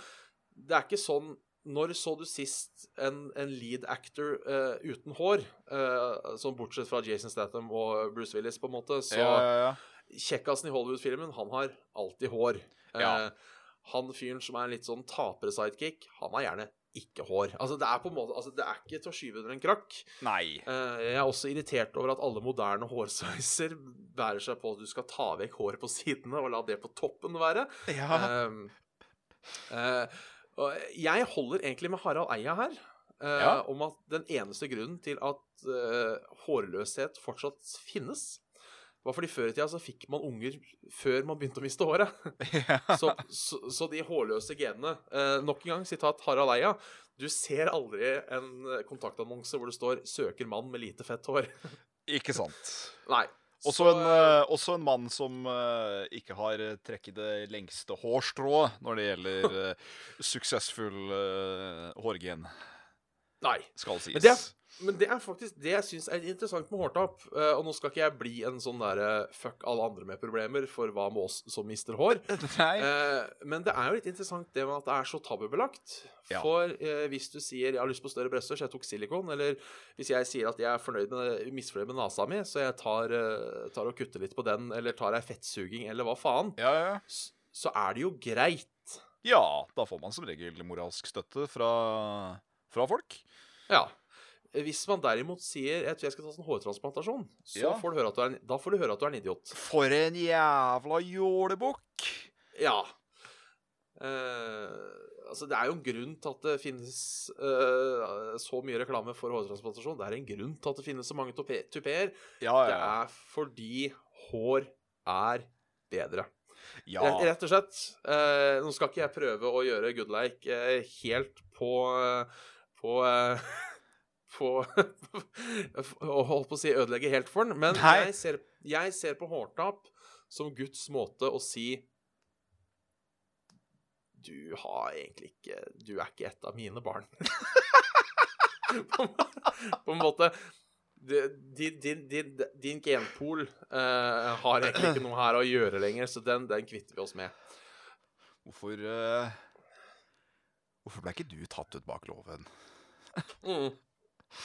S3: det er ikke sånn Når så du sist en, en lead actor eh, uten hår, eh, sånn bortsett fra Jason Statham og Bruce Willis, på en måte, så
S2: ja, ja, ja.
S3: Kjekkasen i Hollywood-filmen, han har alltid hår.
S2: Ja.
S3: Eh, han fyren som er litt sånn tapere-sidekick, han har gjerne ikke hår. Altså, det er på en måte Altså, det er ikke til å skyve under en krakk.
S2: Nei.
S3: Eh, jeg er også irritert over at alle moderne hårsveiser bærer seg på at du skal ta vekk håret på sidene og la det på toppen være.
S2: [LAUGHS] Ja.
S3: Eh, eh, og jeg holder egentlig med Harald Eia her. eh,
S2: Ja.
S3: Om at den eneste grunnen til at eh, hårløshet fortsatt finnes, var fordi før i tida så fikk man unger før man begynte å miste håret.
S2: Eh, [LAUGHS]
S3: Så, så, så de hårløse genene eh, Nok en gang, sitat Harald Eia. Du ser aldri en eh, kontaktannonse hvor det står 'søker mann med lite fett hår'.
S2: Ikke sant.
S3: Nei.
S2: Også
S3: Så,
S2: en,
S3: eh,
S2: eh, også en mann som eh, ikke har eh, trekket det lengste hårstrået når det gjelder [LAUGHS] eh, suksessfull eh, hårgen,
S3: Nei.
S2: skal sies.
S3: Men det er- Men det er faktisk det jeg syns er interessant med hårtap. Eh, og nå skal ikke jeg bli en sånn derre 'fuck alle andre med problemer' for hva med oss som mister hår.
S2: [LAUGHS] Nei.
S3: Eh, men det er jo litt interessant det med at det er så tabubelagt.
S2: Ja.
S3: For eh, hvis du sier 'jeg har lyst på større bryster, så jeg tok silikon', eller hvis jeg sier at jeg er fornøyd med, misfornøyd med nasa mi, så jeg tar, eh, tar og kutter litt på den, eller tar ei fettsuging, eller hva faen,
S2: Ja, ja.
S3: s- så er det jo greit.
S2: ja, da får man som regel moralsk støtte fra, fra folk.
S3: Ja. Hvis man derimot sier 'jeg tror jeg skal ta sånn hårtransplantasjon', så
S2: Ja.
S3: får du høre at du er en, da får du høre at du er en idiot.
S2: For en jævla jålebukk!
S3: Ja. Eh, altså, det er jo en grunn til at det finnes eh, så mye reklame for hårtransplantasjon. Det er en grunn til at det finnes så mange tope- tupeer.
S2: Ja,
S3: Det
S2: ja, ja.
S3: er fordi hår er bedre.
S2: ja.
S3: Rett, rett og slett. Eh, nå skal ikke jeg prøve å gjøre Goodlike eh, helt på eh, På eh, På [LAUGHS] og Holdt på å si ødelegge helt for den, men
S2: Nei.
S3: jeg ser, jeg ser på hårtap som Guds måte å si Du har egentlig ikke Du er ikke et av mine barn. [LAUGHS] på, en- på en måte. Det- Din, din, din, din genpool eh, har egentlig ikke noe her å gjøre lenger, så den, den kvitter vi oss med.
S2: Hvorfor eh, Hvorfor ble ikke du tatt ut bak loven? Mm.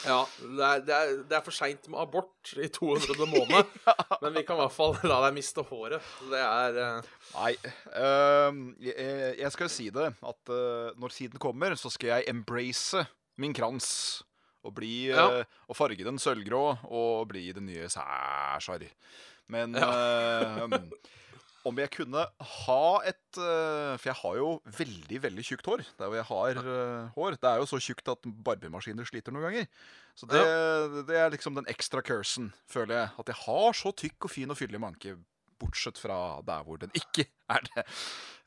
S3: Ja, det er, det er, det er for seint med abort i 200.
S2: [LAUGHS]
S3: måned, men vi kan i hvert fall la deg miste håret. Det er eh,
S2: Nei. ehm, jeg- jeg, jeg skal jo si det, at eh, når tiden kommer, så skal jeg embrace min krans. Og, bli,
S3: Ja.
S2: eh, og farge den sølvgrå og bli den nye Sæsjar. Men ehm, om jeg kunne ha et eh, For jeg har jo veldig veldig tjukt hår. Der hvor jeg har eh, hår. Det er jo så tjukt at barbemaskiner sliter noen ganger. Så det, det er liksom den ekstra cursen, føler jeg. At jeg har så tykk og fin og fyldig manke bortsett fra der hvor den ikke er det.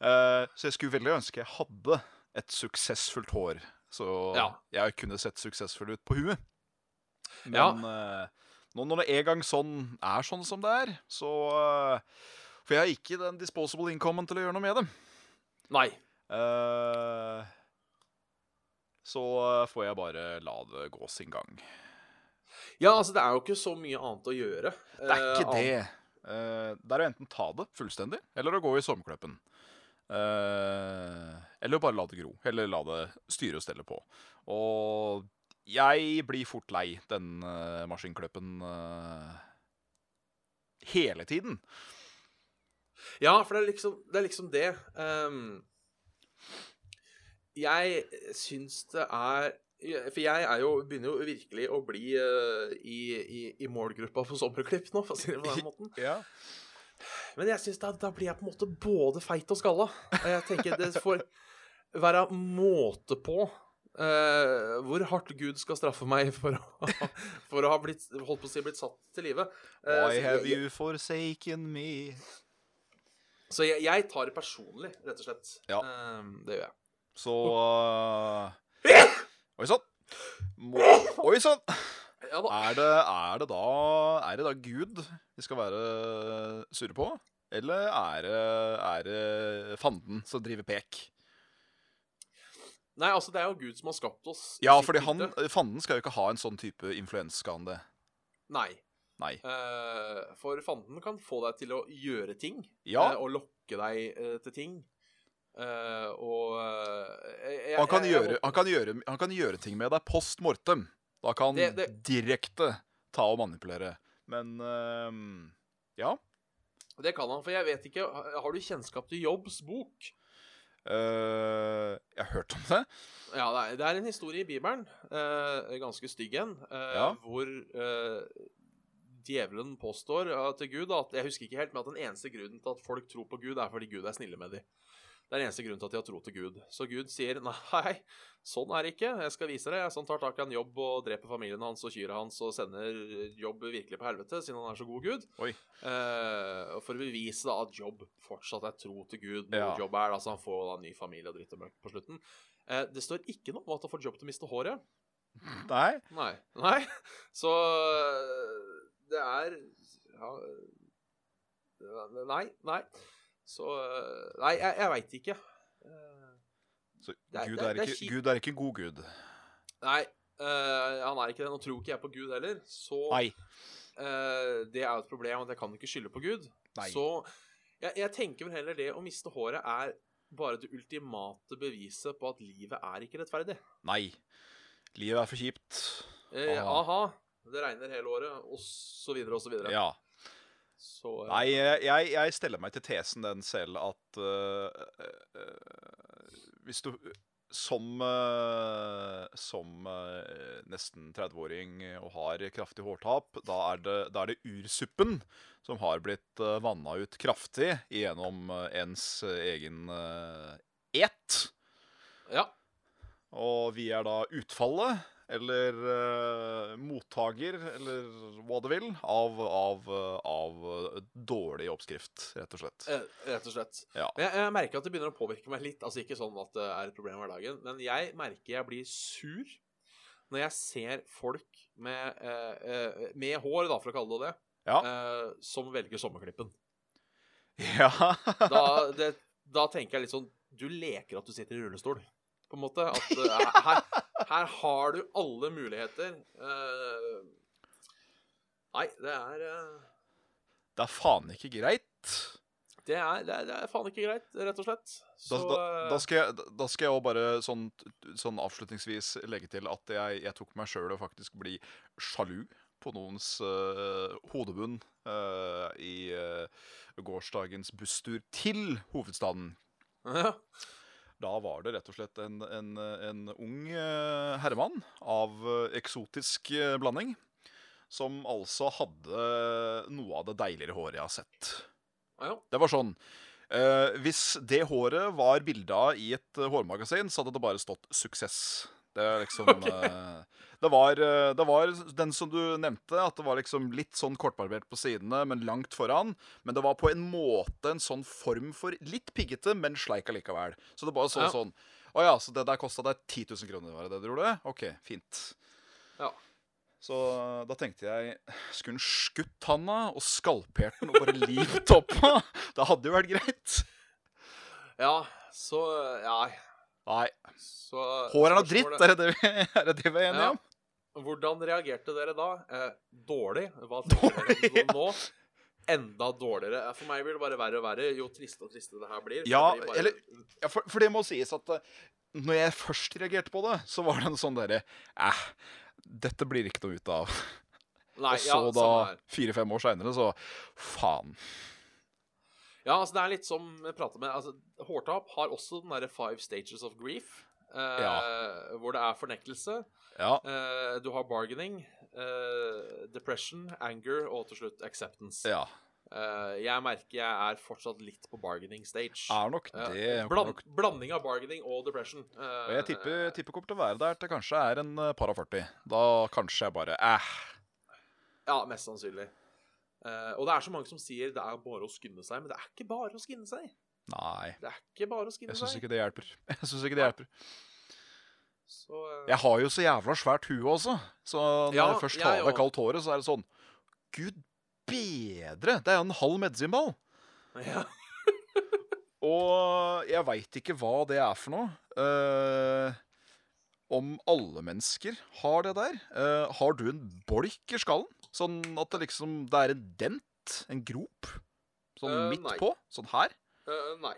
S2: Eh, så jeg skulle veldig ønske jeg hadde et suksessfullt hår, så
S3: Ja.
S2: jeg kunne sett suksessfull ut på huet. Men eh, nå når det en gang sånn er sånn som det er, så eh, For jeg har ikke den disposable incomen til å gjøre noe med det.
S3: Nei.
S2: Eh, så eh, får jeg bare la det gå sin gang.
S3: Ja, altså, det er jo ikke så mye annet å gjøre.
S2: Det er ikke det. Eh, det er å enten ta det fullstendig, eller å gå i sommerkløppen. Eh, eller bare la det gro, eller la det styre og stelle på. Og jeg blir fort lei den eh, maskinkløppen eh, hele tiden.
S3: Ja, for det er liksom det. Er liksom det. Ehm, jeg syns det er For jeg er jo, begynner jo virkelig å bli eh, i, i, i målgruppa for sommerklipp nå, for å si det
S2: [LAUGHS]
S3: på den måten. Men jeg synes da, da blir jeg på en måte både feit og skalla. Og jeg tenker det får være måte på eh, hvor hardt Gud skal straffe meg for å, for å ha blitt, holdt på å si, blitt satt til live. Eh, så
S2: Why
S3: jeg-
S2: have you forsaken me?
S3: Så jeg, jeg tar det personlig, rett og slett.
S2: Ja.
S3: Ehm, det gjør jeg.
S2: Så eh, Oi sann! Må- Oi sånn. sann!
S3: Ja da.
S2: Er det, er, det da, er det da Gud vi skal være surre på? Eller er det, er det fanden som driver pek?
S3: Nei, altså, det er jo Gud som har skapt oss. i
S2: Ja,
S3: sitt
S2: fordi han,
S3: bilde.
S2: fanden skal jo ikke ha en sånn type influens, skal han det?
S3: Nei.
S2: Nei.
S3: Eh, for fanden kan få deg til å gjøre ting,
S2: Ja,
S3: eh, og lokke deg eh, til ting. Eh, og eh, jeg, jeg-
S2: han kan,
S3: jeg- jeg
S2: gjøre, han, kan gjøre, han kan gjøre ting med deg post mortem. Da kan
S3: Det-
S2: han
S3: det-
S2: direkte ta og manipulere. Men øhm, ja.
S3: håper- Det kan han, for jeg vet ikke Har du kjennskap til Jobbs bok?
S2: øh, jeg har hørt om det.
S3: Ja, det er, det er en historie i Bibelen, eh, ganske stygg en, eh,
S2: Ja.
S3: hvor eh, djevelen påstår eh, til Gud at Jeg husker ikke helt, men at den eneste grunnen til at folk tror på Gud, er fordi Gud er snille med dem. Det er den eneste grunnen til at de har tro til Gud. Så Gud sier nei, sånn er det ikke. Jeg skal vise deg. Sånn tar tak i en jobb og dreper familien hans og kyrne hans og sender jobb virkelig på helvete, siden han er så god gud.
S2: Oi.
S3: Eh, og for å bevise da at jobb fortsatt er tro til Gud. Når
S2: Ja.
S3: jobb er, altså Han får da en ny familie og dritt og møkk på slutten. Eh, det står ikke noe om at han får jobb til å miste håret.
S2: Nei.
S3: Nei. [LAUGHS] Nei. Så øh, det er ja, øh, Nei. Nei. Så øh, Nei, jeg, jeg veit ikke. Eh,
S2: Så
S3: Det er-
S2: Gud
S3: det er-
S2: er
S3: det er
S2: ikke,
S3: kjipt.
S2: Gud er ikke god gud.
S3: Nei, øh, han er ikke det. Nå tror ikke jeg på Gud heller, så
S2: Nei.
S3: eh, det er jo et problem at jeg kan ikke skylde på Gud.
S2: Nei.
S3: Så jeg, jeg tenker vel heller det å miste håret er bare det ultimate beviset på at livet er ikke rettferdig.
S2: Nei. Livet er for kjipt.
S3: Eh,
S2: Aha.
S3: aha, det regner hele året, og så videre og så videre.
S2: Ja.
S3: Så, eh,
S2: Nei, jeg, jeg steller meg til tesen den selv at øh, øh, øh, Hvis du som, øh, som øh, nesten 30-åring og har kraftig hårtap, da er det, da er det ursuppen som har blitt uh, vanna ut kraftig gjennom øh, ens egen øh, et.
S3: Ja.
S2: Og vi er da utfallet, eller eh, mottaker, eller hva det vil, av, av, eh, av eh, dårlig oppskrift, rett og slett.
S3: Eh, Rett og slett.
S2: Ja.
S3: Men Jeg, jeg merker at det begynner å påvirke meg litt. Altså Ikke sånn at det er et problem i hverdagen, men jeg merker jeg blir sur når jeg ser folk med, eh, eh, med hår, da, for å kalle det det, eh, som velger sommerklippen.
S2: [LAUGHS] Ja.
S3: Da, det, da tenker jeg litt sånn Du leker at du sitter i rullestol, på en måte. At eh, her, her har du alle muligheter. Eh, nei, det er eh,
S2: Det er faen ikke greit.
S3: det er, det, er, det er faen ikke greit, rett og slett.
S2: Da,
S3: Så,
S2: da, da
S3: eh,
S2: skal jeg, da- da skal jeg også bare sånn, sånn avslutningsvis legge til at jeg, jeg tok meg sjøl og faktisk bli sjalu på noens eh, hodebunn eh, i eh, gårsdagens busstur til hovedstaden.
S3: [LAUGHS] ja.
S2: Da var det rett og slett en, en, en ung eh, herremann av eh, eksotisk eh, blanding. Som altså hadde noe av det deiligere håret jeg har sett.
S3: Ja,
S2: Det var sånn eh, Hvis det håret var bilda i et eh, hårmagasin, så hadde det bare stått 'suksess'. Det er
S3: [LAUGHS]
S2: liksom eh, det, var, eh, det var den som du nevnte, at det var liksom litt sånn kortbarbert på sidene, men langt foran. Men det var på en måte en sånn form for litt piggete, men sleik allikevel. Så det bare så
S3: Ja.
S2: sånn Å ja, så det der kosta deg 10 000 kroner, var det det du gjorde? OK, fint.
S3: Ja.
S2: Så eh, da tenkte jeg Skulle hun skutt handa og skalpert den og bare limt opp? Det hadde jo vært greit.
S3: ja så eh, Ja,
S2: Nei.
S3: så
S2: Hår er noe [LAUGHS] dritt, er det
S3: spørsmålet-
S2: det vi [LAUGHS] er, det det vi er enige
S3: Ja.
S2: om?
S3: Hvordan reagerte dere da? Eh, dårlig?
S2: [LAUGHS]
S3: Hva tenker dere
S2: Dårlig,
S3: om nå? Enda dårligere. Eh, For meg blir det bare verre og verre jo tristere og tristere det her blir.
S2: Ja,
S3: Det blir bare-
S2: eller- Ja, for, for det må sies at eh, når jeg først reagerte på det, så var det en sånn derre Æh, dette blir ikke noe ut av.
S3: Nei,
S2: Og så
S3: ja,
S2: da,
S3: samme her.
S2: fire-fem år seinere, så faen.
S3: Ja, altså det er litt som jeg prater med altså, Hårtap har også den derre Five Stages of Grief. eh, Hvor det er fornektelse.
S2: Ja.
S3: eh, du har bargaining, eh, depression, anger og til slutt acceptance.
S2: ja.
S3: Eh, jeg merker jeg er fortsatt litt på bargaining stage.
S2: Er nok
S3: Eh,
S2: det.
S3: bland, blanding av bargaining og depression. eh,
S2: Og jeg tipper, tipper kommer til å være der til kanskje er en eh, par og 40. Da kanskje jeg bare Æh.
S3: Ja, mest sannsynlig. Eh, og det er så mange som sier det er bare å skynde seg, men det er ikke bare å skynde seg.
S2: Nei.
S3: Det er ikke bare å skynde
S2: Jeg syns
S3: seg.
S2: ikke det hjelper. [LAUGHS] Jeg synes ikke det hjelper.
S3: Så, eh,
S2: Jeg har jo så jævla svært hue også, så når
S3: Ja,
S2: jeg først
S3: jeg
S2: tar av
S3: òg.
S2: meg kaldt håret, så er det sånn Gud bedre! Det er jo en halv medisinball!
S3: [LAUGHS] ja.
S2: Og jeg veit ikke hva det er for noe. Eh, om alle mennesker har det der. Eh, har du en bolk i skallen? Sånn at det liksom Det er en dent? En grop? Sånn
S3: Eh,
S2: midt
S3: nei.
S2: på? Sånn her?
S3: Eh, nei.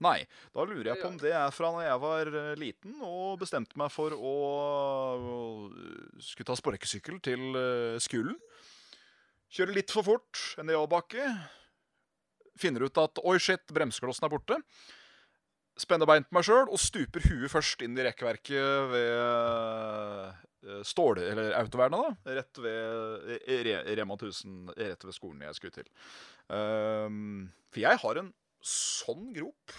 S2: Nei. Da lurer jeg
S3: Det
S2: på om det er fra da jeg var eh, liten og bestemte meg for å, å skulle ta sparkesykkel til eh, skolen. Kjøre litt for fort, en nedoverbakke. Finner ut at oi, shit, bremseklossen er borte. Spenner bein på meg sjøl og stuper huet først inn i rekkverket ved eh, stål... Eller autovernet, da. Rett ved eh, Re- Rema 1000, rett ved skolen jeg skulle til. Ehm, for jeg har en sånn grop.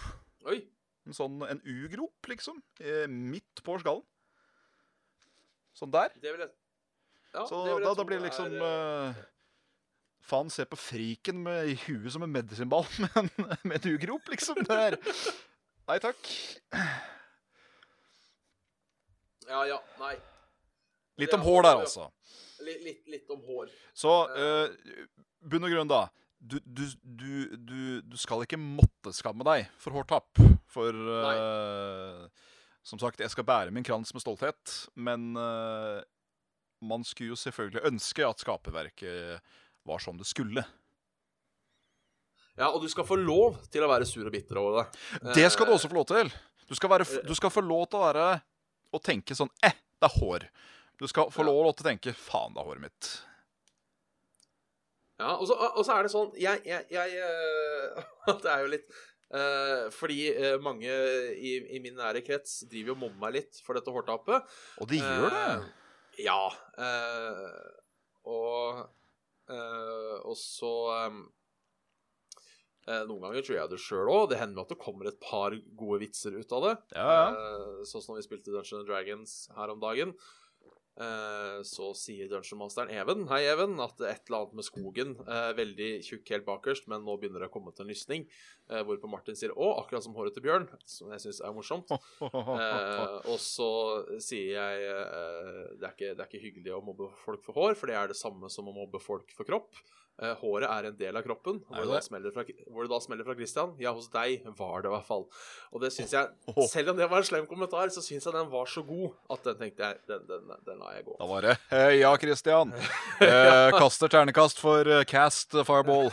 S3: Oi.
S2: En sånn en U-grop, liksom. eh, Midt på skallen. Sånn der.
S3: Det vil jeg ja,
S2: Så
S3: det vil jeg
S2: da,
S3: tro
S2: da blir det liksom
S3: er,
S2: eh, Faen, se på friken med i huet som en medisinball [LAUGHS] med en, med en U-grop, liksom. Det er Nei takk.
S3: eh, Ja, ja, nei.
S2: Litt om hår der, altså.
S3: Litt, litt, litt om hår.
S2: Så eh, bunn og grunn, da. Du, du, du, du, du skal ikke måtte skamme deg for hårtap. For eh, Som sagt, jeg skal bære min krans med stolthet, men eh, man skulle jo selvfølgelig ønske at skaperverket var som det skulle.
S3: Ja, og du skal få lov til å være sur og bitter over det.
S2: Det skal du
S3: Eh,
S2: også få lov til. Du skal, være, f- du skal få lov til å være Å tenke sånn Eh, det er hår. Du skal få
S3: Ja.
S2: lov til å tenke Faen, det er håret mitt.
S3: Eh, Ja, og så, og så er det sånn Jeg, jeg, jeg eh, [LAUGHS] Det er jo litt eh, Fordi eh, mange i, i min nære krets driver jo og mobber meg litt for dette hårtapet.
S2: Og det gjør det.
S3: Eh, ja. eh, og eh, Og så eh, eh, Noen ganger tror jeg det sjøl òg. Det hender at det kommer et par gode vitser ut av det.
S2: Ja, ja.
S3: Eh, sånn som når vi spilte Dungeons and Dragons her om dagen, eh, så sier Dungeon-masteren Even Hei, Even, at et eller annet med skogen eh, Veldig tjukk helt bakerst, men nå begynner det å komme til en lysning. eh, hvorpå Martin sier Å, akkurat som håret til Bjørn, som jeg syns er morsomt. Eh, og så sier jeg eh, det, er ikke, det er ikke hyggelig å mobbe folk for hår, for det er det samme som å mobbe folk for kropp. Eh, håret er en del av kroppen.
S2: Er
S3: Hvor
S2: det
S3: det da
S2: det?
S3: smeller fra, hvor det da smeller fra Christian? Ja, hos deg var det i hvert fall. Og det syns jeg
S2: Åh.
S3: Selv om det var en slem kommentar, så syns jeg den var så god at den tenkte jeg Den, den, den lar jeg gå.
S2: Da var det «Hei, Ja, [LAUGHS] Christian. Eh, kaster ternekast for eh, cast eh, fireball.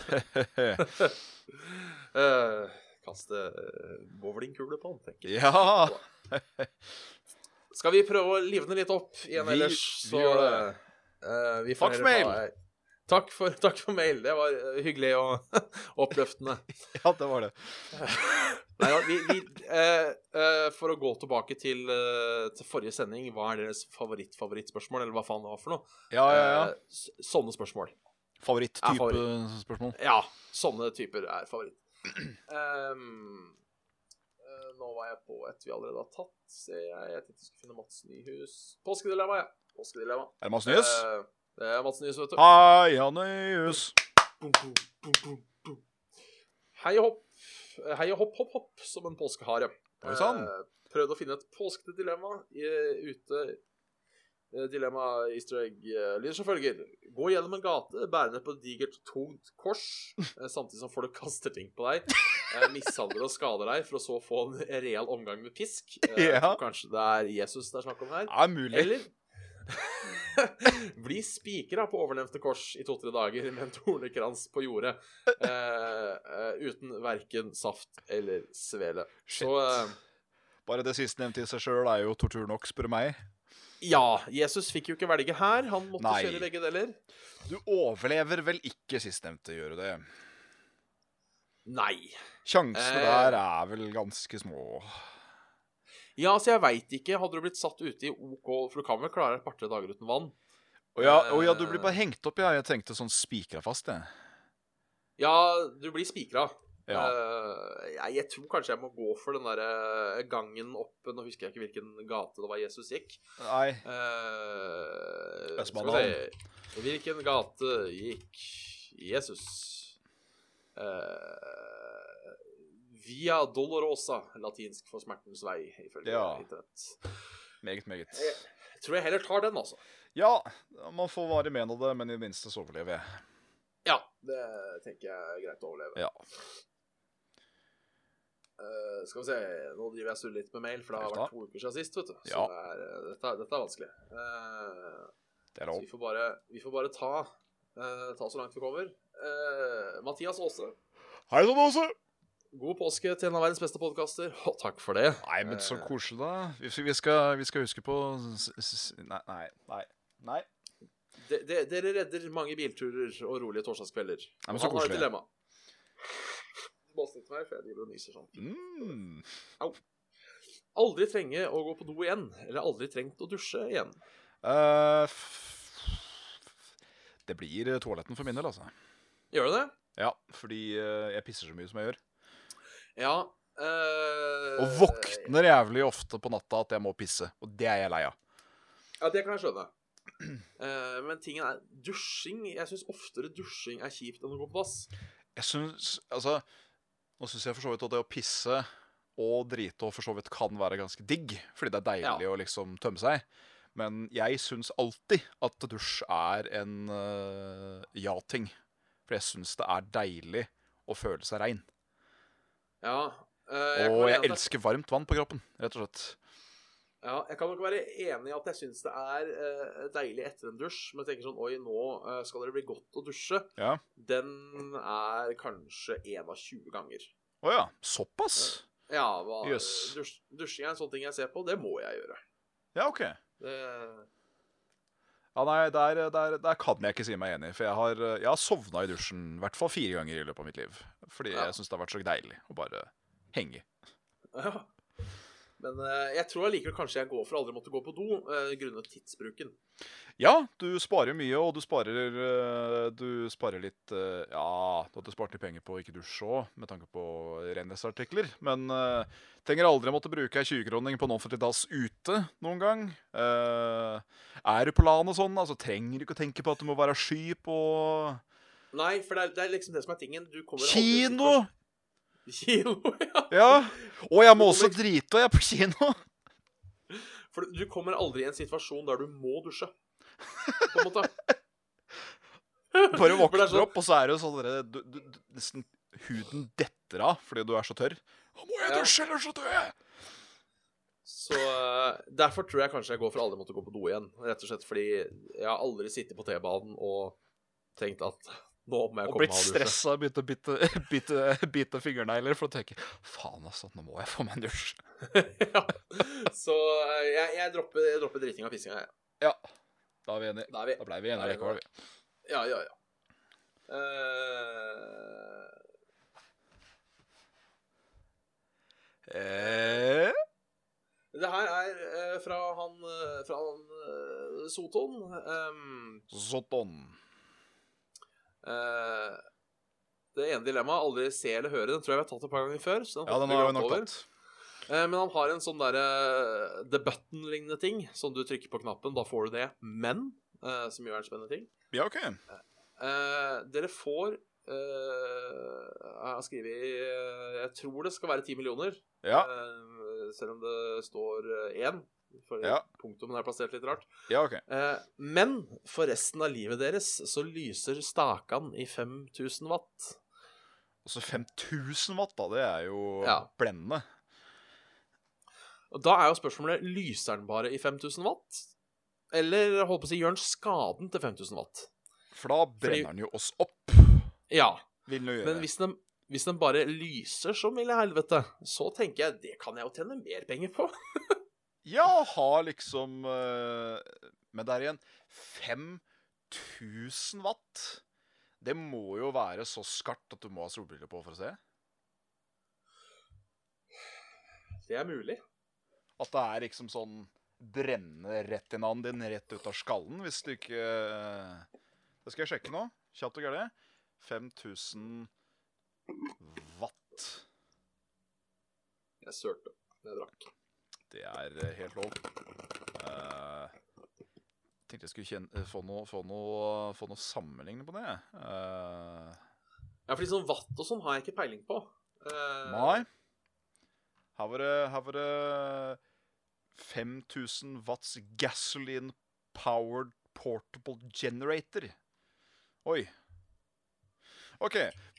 S3: Eh, kaste eh, bowlingkule på den, tenker jeg.
S2: [LAUGHS] ja.
S3: Skal vi prøve å livne litt opp igjen
S2: Vi-
S3: ellers,
S2: vi
S3: så
S2: gjør
S3: eh, vi får
S2: Takk for
S3: heller
S2: mail.
S3: ta- Takk for, takk for mail. Det var eh, hyggelig og [LAUGHS] oppløftende.
S2: ja, det var det.
S3: Nei, ja, vi, vi, eh, eh, for å gå tilbake til, eh, til forrige sending, hva er deres favoritt-favorittspørsmål? Eller hva faen det var for noe?
S2: Ja, ja, ja.
S3: Eh, s- sånne spørsmål. Ja,
S2: Favoritt-type eh,
S3: favoritt.
S2: spørsmål.
S3: Ja, sånne typer er favoritt. Ehm, eh, nå var jeg på et vi allerede har tatt. Ser jeg, jeg tenkte jeg skulle finne Mats Nyhus. Påskedilemma, ja. Påskedilemma.
S2: Er det Mads Nyhus?
S3: Eh, det er Mats Nyhus, vet du.
S2: Hei, ja, Nyhus.
S3: Boom, boom, boom, boom, boom. Hei og hopp. eh, Hei og hopp, hopp, hopp, som en påskehare.
S2: Oi, sann.
S3: Eh, Prøvde å finne et påskete dilemma i- ute. Eh, Dilemma easter egg eh, lyder som følger. Gå gjennom en gate bærende på et digert, tungt kors, eh, samtidig som folk [LAUGHS] kaster ting på deg, eh, mishandler og skader deg, for å så få en real omgang med pisk. Eh, jeg
S2: Ja.
S3: tror Kanskje det er Jesus det er snakk om her.
S2: Er mulig.
S3: Eller [LAUGHS] Bli spikra på overlevde kors i to-tre dager med en tornekrans på jordet. eh, eh, uten verken saft eller svele.
S2: Shit.
S3: Så eh,
S2: Bare det sistnevnte i seg sjøl er jo tortur nok, spør du meg.
S3: ja, Jesus fikk jo ikke velge her. Han måtte
S2: Nei.
S3: kjøre begge deler.
S2: Du overlever vel ikke sistnevnte, gjør du det?
S3: Nei.
S2: Sjansene
S3: Eh.
S2: der er vel ganske små.
S3: Ja, altså, jeg veit ikke. Hadde du blitt satt ute i OK, for du kan vel klare et par-tre dager uten vann?
S2: Å ja, å ja, du
S3: Eh.
S2: blir bare hengt opp, ja. Jeg tenkte sånn spikra fast, jeg.
S3: Ja, du blir spikra.
S2: Ja.
S3: Eh, jeg, jeg tror kanskje jeg må gå for den der eh, gangen opp Nå husker jeg ikke hvilken gate det var Jesus gikk.
S2: Nei.
S3: Eh,
S2: Østbanehallen.
S3: skal vi se. Hvilken gate gikk Jesus? Eh, via Dolorosa, latinsk for smertens vei, ifølge
S2: Ja.
S3: internett.
S2: Meget, meget.
S3: Jeg tror jeg heller tar den, altså.
S2: Ja, man får vare men av det, men i det minste så overlever jeg.
S3: Ja, det tenker jeg er greit å overleve.
S2: Ja.
S3: Eh, skal vi se, nå driver jeg og surrer litt med mail, for det har
S2: Helt da.
S3: vært to uker siden sist, vet du. Så
S2: Ja.
S3: det er, eh, dette, er- dette er vanskelig. Eh,
S2: Det er
S3: så
S2: lov.
S3: vi får bare, vi får bare ta, eh, ta så langt vi kommer. Eh, Mathias Aase,
S2: Hei sann, Åse.
S3: god påske til en av verdens beste podkaster. [LAUGHS] Å, takk for det.
S2: Nei, men så
S3: Eh.
S2: koselig, da. Vi, vi, skal, vi skal huske på s- s- s- Nei, nei. Nei. nei.
S3: De, de, dere redder mange bilturer og rolige torsdagskvelder.
S2: men så
S3: Og han har et
S2: koselig.
S3: dilemma. Du må snitte meg, for jeg driver og nyser sånn.
S2: Mm.
S3: Aldri trenge å gå på do igjen, eller aldri trengt å dusje igjen.
S2: Eh, f- det blir eh, toaletten for min del, altså.
S3: Gjør du det?
S2: Ja, fordi eh, jeg pisser så mye som jeg gjør.
S3: Ja. eh,
S2: Og våkner jævlig ofte på natta at jeg må pisse. Og det er jeg lei av.
S3: Ja, det kan jeg skjønne. Eh, men tingen er dusjing Jeg syns oftere dusjing er kjipt enn å gå på dass.
S2: Jeg syns Altså, nå syns jeg for så vidt at det å pisse og drite og for så vidt kan være ganske digg, fordi det er deilig å liksom tømme seg. Men jeg syns alltid at dusj er en eh, ja-ting. For jeg syns det er deilig å føle seg rein.
S3: Ja. eh, kan
S2: Og
S3: være
S2: jeg
S3: enig at
S2: elsker varmt vann på kroppen, rett og slett.
S3: Ja, jeg kan nok være enig i at jeg syns det er eh, deilig etter en dusj, men tenker sånn Oi, nå eh, skal dere bli godt å dusje.
S2: Ja.
S3: Den er kanskje én av 20 ganger.
S2: Å ja. Såpass?
S3: Ja, hva,
S2: Jøss.
S3: dusj, dusjing er en sånn ting jeg ser på. Det må jeg gjøre.
S2: Ja, OK.
S3: Det, [LAUGHS]
S2: Ja, nei, der, der, der kan jeg ikke si meg enig, for jeg har, eh, jeg har sovna i dusjen i hvert fall fire ganger i løpet av mitt liv. Fordi
S3: Ja.
S2: jeg syns det har vært så deilig å bare henge.
S3: ja. Men eh, jeg tror allikevel kanskje jeg går for aldri måtte gå på do, eh, grunnet tidsbruken.
S2: Ja, du sparer mye, og du sparer, øh, du sparer litt øh, Ja, du hadde spart litt penger på å ikke dusje òg, med tanke på rennesartikler. Men øh, trenger aldri å måtte bruke ei 20-kroning på en offentlig dass ute noen gang. Eh, er du på landet sånn, altså trenger du ikke å tenke på at du må være sky på
S3: Nei, for det er, det er liksom det som er tingen. Du kommer aldri til
S2: Kino!
S3: [LAUGHS] Kino, ja.
S2: Ja. Og jeg må
S3: Du
S2: også
S3: kommer-
S2: drite, og jeg er på kino.
S3: [LAUGHS] For du kommer aldri i en situasjon der du må dusje. På en måte.
S2: Bare
S3: For det
S2: våkner
S3: er sånn-
S2: opp, og så er det jo sånn derre du, du, du, Nesten huden detter av fordi du er så tørr. Nå må jeg
S3: Ja.
S2: dusje, ellers så dør jeg!
S3: Så eh, derfor tror jeg kanskje jeg går for aldri måtte gå på do igjen. Rett og slett fordi jeg har aldri sittet på T-banen og tenkt at nå må jeg
S2: Og
S3: komme
S2: blitt
S3: meg av dusje.
S2: stressa og begynt å [LAUGHS] bite, bite, bite fingernegler for å tenke Faen, altså, nå må jeg få meg en dusj.
S3: [LAUGHS] ja. Så eh, jeg, jeg dropper, jeg dropper driting av pissinga, jeg.
S2: Ja, da er vi enige.
S3: Da er vi
S2: Da blei vi enige
S3: Da er vi
S2: likevel. vi.
S3: Ja, ja, ja. Eh,
S2: Eh,
S3: det her er eh, fra han, eh, fra han eh, Soton. Um,
S2: Sånn.
S3: Eh, det ene dilemmaet aldri se eller høre, den tror jeg vi har tatt et par ganger før. Så den
S2: Ja, den
S3: hopper
S2: har vi
S3: glatt
S2: nok
S3: over.
S2: tatt.
S3: Eh, men han har en sånn derre the button-lignende ting som du trykker på knappen, da får du det. Men, eh, som jo er en spennende ting
S2: Ja, OK.
S3: eh, Dere får eh, Jeg har skrevet eh, Jeg tror det skal være ti millioner,
S2: Ja,
S3: eh, selv om det står eh, én. For
S2: Ja.
S3: punktum er plassert litt rart.
S2: ja, OK.
S3: Eh, Men for resten av livet deres så lyser stakan i 5000 watt.
S2: Og så 5000 Altså, watt, da. Det er jo
S3: Ja.
S2: blendende.
S3: Og da er jo spørsmålet lyser den bare i 5000 watt? Eller holdt på å si, gjør den skaden til 5000 watt.
S2: For da
S3: Fordi-
S2: brenner den jo oss opp,
S3: Ja,
S2: vil den jo gjøre.
S3: men hvis den, hvis den bare lyser som i helvete, så tenker jeg det kan jeg jo tjene mer penger på. [LAUGHS]
S2: Ja, ha liksom eh, Men der igjen 5000 watt. Det må jo være så skarpt at du må ha solbriller på for å se.
S3: Det er mulig.
S2: At det er liksom sånn brenne retinaen din rett ut av skallen, hvis du ikke eh, Det skal jeg sjekke nå. Kjapt og gærent. 5000 watt.
S3: Jeg sølte. Jeg drakk.
S2: Det er eh, helt lov. Eh, tenkte jeg skulle kjenne, eh, få noe, få noe, få noe sammenligning på det. jeg. Eh,
S3: Ja, fordi sånn vatt og sånn har jeg ikke peiling på. Eh,
S2: Nei. Her var det, her var det 5000 watts gasoline powered portable generator. Oi. OK.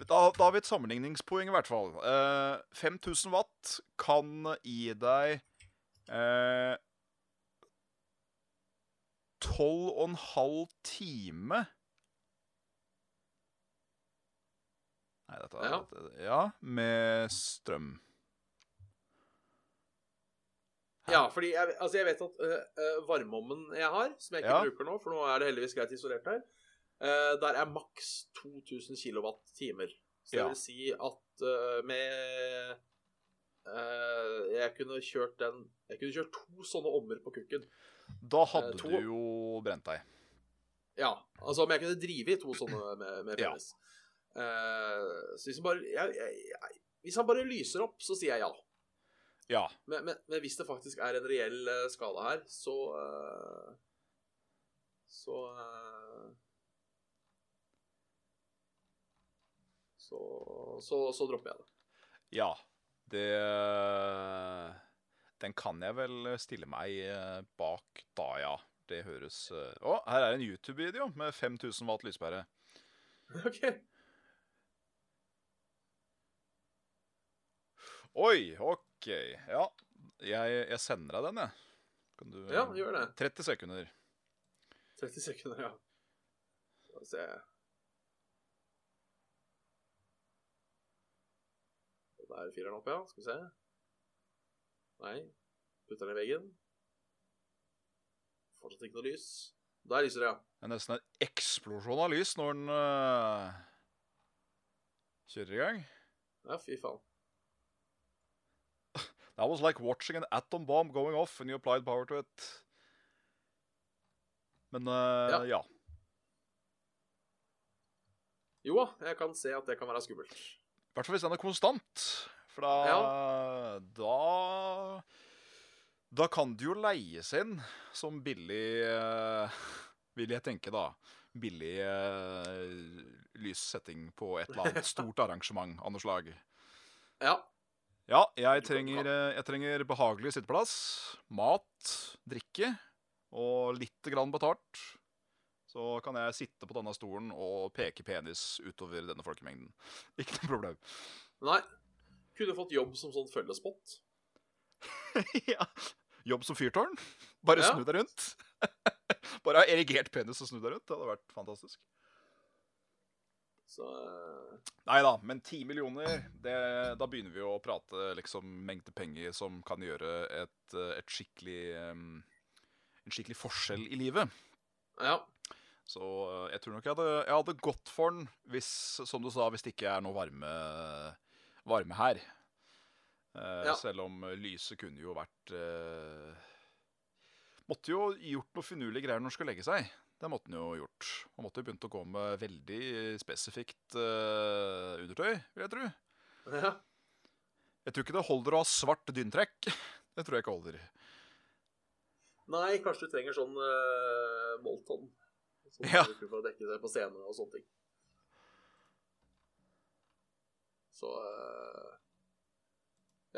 S2: Da, da har vi et sammenligningspoeng, i hvert fall. Eh, 5000 watt kan gi deg eh, 12,5 time Nei, dette er
S3: Ja.
S2: dette- Ja, med strøm.
S3: Ja, fordi jeg, altså jeg vet at eh, eh, varmeovnen jeg har, som jeg ikke
S2: Ja.
S3: bruker nå, for nå er det heldigvis greit isolert her, eh, der er maks 2000 kWh. Så det
S2: Ja.
S3: vil si at eh, med eh, Jeg kunne kjørt den Jeg kunne kjørt to sånne ommer på kukken.
S2: Da hadde
S3: Eh, to-
S2: du jo brent deg.
S3: Ja, altså om jeg kunne drive i to sånne med, med
S2: Ja.
S3: felles. Eh, så hvis han bare jeg, jeg, jeg, Hvis han bare lyser opp, så sier jeg ja.
S2: Ja.
S3: Men, men, men hvis det faktisk er en reell eh, skala her, så eh, Så eh, så, så, så dropper jeg det. [LAUGHS]
S2: Ja. Det Den kan jeg vel stille meg eh, bak da, ja. Det høres eh, Å, her er en YouTube-video med 5000 watt lyspære.
S3: OK.
S2: Oi, OK. Ja. Jeg, jeg sender deg den, jeg. Kan du
S3: Ja, gjør det.
S2: 30 sekunder.
S3: 30 sekunder, ja. Skal vi se Og Der er fireren opp, ja. Skal vi se. Nei. Putter den i veggen. Fortsatt ikke noe lys. Der lyser det, ja.
S2: Det er nesten en eksplosjon av lys når den eh, kjører i gang.
S3: Ja, fy faen.
S2: That was like watching an atom bomb going off when you applied power to it. Men eh,
S3: Ja.
S2: ja.
S3: Jo da, jeg kan se at det kan være skummelt.
S2: I hvert fall hvis den er konstant. For da Da, da kan det jo leies inn som billig eh, Vil jeg tenke, da. Billig eh, lyssetting på et eller annet stort arrangement av noe slag.
S3: Ja.
S2: Ja, jeg trenger, eh, jeg trenger behagelig sitteplass, mat, drikke og lite grann betalt. Så kan jeg sitte på denne stolen og peke penis utover denne folkemengden. [LAUGHS] Ikke noe problem.
S3: Nei. Kunne fått jobb som sånn følgespott.
S2: ja. Jobb som fyrtårn. Bare
S3: Ja.
S2: snu deg rundt. [LAUGHS] Bare ha erigert penis og snu deg rundt. Det hadde vært fantastisk.
S3: Så eh,
S2: Nei da, men ti millioner det, Da begynner vi å prate liksom mengde penger som kan gjøre et, eh, et skikkelig em, En skikkelig forskjell i livet.
S3: Ja. [LAUGHS]
S2: Så eh, jeg tror nok jeg hadde, jeg hadde gått for den hvis, som du sa, hvis det ikke er noe varme, varme her. Eh,
S3: Ja.
S2: Selv om eh, lyset kunne jo vært eh, Måtte jo gjort noe finurlige greier når den skulle legge seg. Det måtte den jo gjort. Man måtte jo begynt å gå med veldig spesifikt eh, undertøy, vil jeg tro.
S3: ja.
S2: Jeg tror ikke det holder å ha svart dyntrekk. Det tror jeg ikke holder.
S3: Nei, kanskje du trenger sånn eh, Molton. Som
S2: Ja.
S3: du bruker for å dekke det på scenen og sånne ting. Så eh,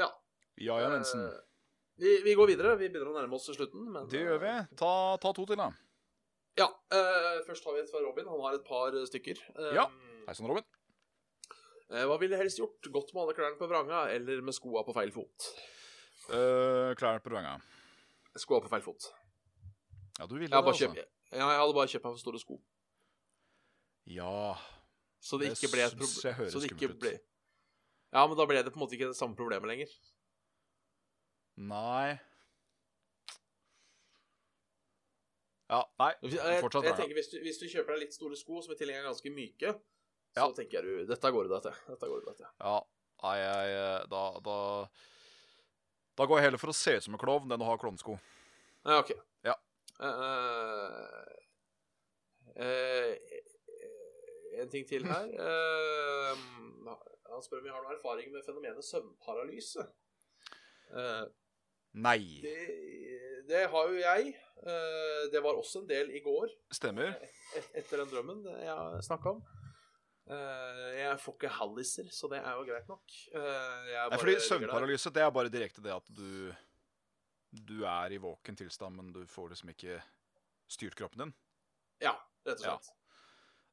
S3: Ja.
S2: Ja ja, Mensen.
S3: Eh, vi, vi går videre. Vi begynner å nærme oss slutten. Men,
S2: Det gjør vi.
S3: eh,
S2: Ta, ta to til, da.
S3: Ja. eh, først har vi et fra Robin. Han har et par eh, stykker. Eh,
S2: Ja. Hei sann, Robin.
S3: eh, hva ville helst gjort? Gått med alle klærne på vranga, eller med skoa på feil fot?
S2: Eh, Uh, Klærne på ranga.
S3: Skoa på feil fot.
S2: Ja, du ville
S3: Jeg, har
S2: det,
S3: bare
S2: altså.
S3: kjøpt, ja, jeg hadde bare kjøpt meg for store sko.
S2: Ja.
S3: Så det,
S2: Det
S3: ikke ble et
S2: syns jeg
S3: problem.
S2: høres
S3: Så det ikke
S2: skummelt ut.
S3: ble... Ja, men da ble det på en måte ikke det samme problemet lenger.
S2: Nei. Ja, nei.
S3: Jeg, jeg,
S2: Fortsatt nei,
S3: jeg
S2: ja.
S3: tenker hvis du, hvis du kjøper deg litt store sko, som i tillegg er ganske myke, så
S2: Ja.
S3: tenker du dette går det til. Dette går det til.
S2: Ja, nei, jeg eh, Da, da da går jeg heller for å se ut som en klovn enn å ha klovnesko.
S3: Ja, OK.
S2: Ja.
S3: Eh, eh, eh, en ting til
S2: [LAUGHS]
S3: her. Eh, han spør om vi har noen erfaring med fenomenet søvnparalyse. Eh,
S2: Nei.
S3: det, det har jo jeg. Eh, det var også en del i går.
S2: Stemmer.
S3: et- etter den drømmen jeg snakka om. Eh, jeg får ikke halliser, så det er jo greit nok. Eh, jeg
S2: Nei,
S3: bare
S2: fordi
S3: ligger der.
S2: søvnparalyse, det er bare direkte det at du Du er i våken tilstand, men du får liksom ikke styrt kroppen din.
S3: Ja, rett og
S2: Ja.
S3: slett.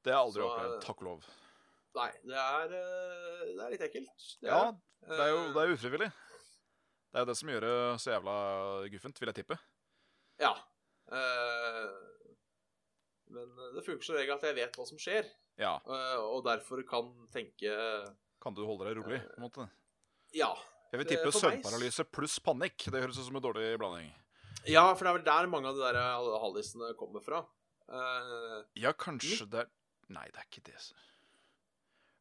S2: Det har jeg aldri
S3: Så,
S2: opplevd,
S3: eh,
S2: takk og lov.
S3: Nei, det er, eh, det er litt ekkelt.
S2: Ja,
S3: er
S2: det er jo
S3: Eh,
S2: det er jo ufrivillig. Det er jo det som gjør det så jævla guffent, vil jeg tippe.
S3: Ja. Eh, men det funker som regel at jeg vet hva som skjer,
S2: Ja.
S3: eh, og derfor kan tenke
S2: Kan du holde deg rolig, på en måte?
S3: Ja.
S2: Jeg vil
S3: Det-
S2: tippe
S3: Eh, for meg s-
S2: søvnparalyse pluss panikk. Det høres ut som en dårlig blanding.
S3: ja, for det er vel der mange av de der hallisene kommer fra. Eh,
S2: Ja, kanskje det er Nei, det er ikke det. s-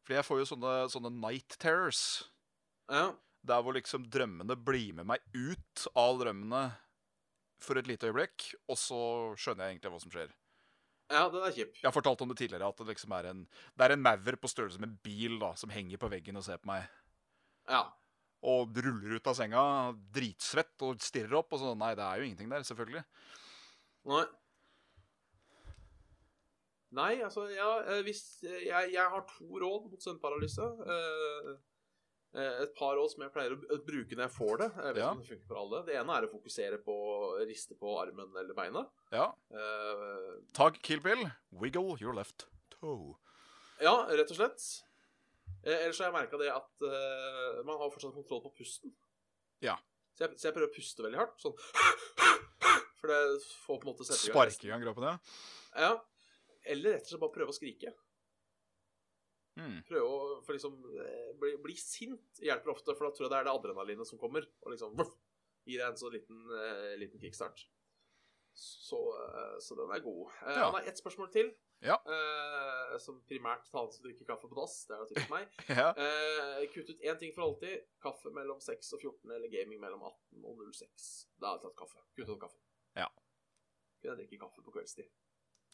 S2: Fordi jeg får jo sånne, sånne night terrors.
S3: ja.
S2: Der hvor liksom drømmene blir med meg ut av drømmene for et lite øyeblikk, og så skjønner jeg egentlig hva som skjer.
S3: ja, den er kjip.
S2: Jeg har fortalt om det tidligere, at det liksom er en Det er en maur på størrelse med en bil da, som henger på veggen og ser på meg.
S3: Ja.
S2: Og ruller ut av senga, dritsvett, og stirrer opp, og sånn Nei, det er jo ingenting der, selvfølgelig.
S3: Nei. Nei, altså ja, eh, hvis, eh, jeg, jeg har to råd mot søvnparalyse. Eh, eh, et par råd som jeg pleier å b- bruke når jeg får det. Jeg vet
S2: Ja.
S3: ikke om Det funker for alle Det ene er å fokusere på å riste på armen eller beinet.
S2: Ja.
S3: Eh,
S2: Tag kill pill. Wiggle your left toe.
S3: ja, rett og slett. Eh, ellers har jeg merka det at eh, man har fortsatt kontroll på pusten.
S2: Ja.
S3: Så jeg, så jeg prøver å puste veldig hardt. Sånn [LAUGHS] For det får på en måte sette i gang
S2: Sparke i gang kroppen, ja.
S3: resten. Ja. Eller rett og slett bare prøve å skrike.
S2: Hmm. [LAUGHS]
S3: prøve å for liksom, eh, bli, bli sint hjelper ofte, for da tror jeg det er det adrenalinet som kommer. Og liksom voff, gir deg en sånn liten, eh, liten kickstart. Så, eh, så den er god. Eh,
S2: Ja.
S3: Han har ett spørsmål til,
S2: Ja.
S3: eh, som primært tar han som drikker kaffe på dass. Det er jo typisk meg.
S2: ja.
S3: Eh, kutt ut én ting for alltid. Kaffe mellom 6 og 14, eller gaming mellom 18 og 06. Da har jeg tatt kaffe. Kutt ut kaffe.
S2: Ja.
S3: Kunne jeg drikke kaffe på kveldstid.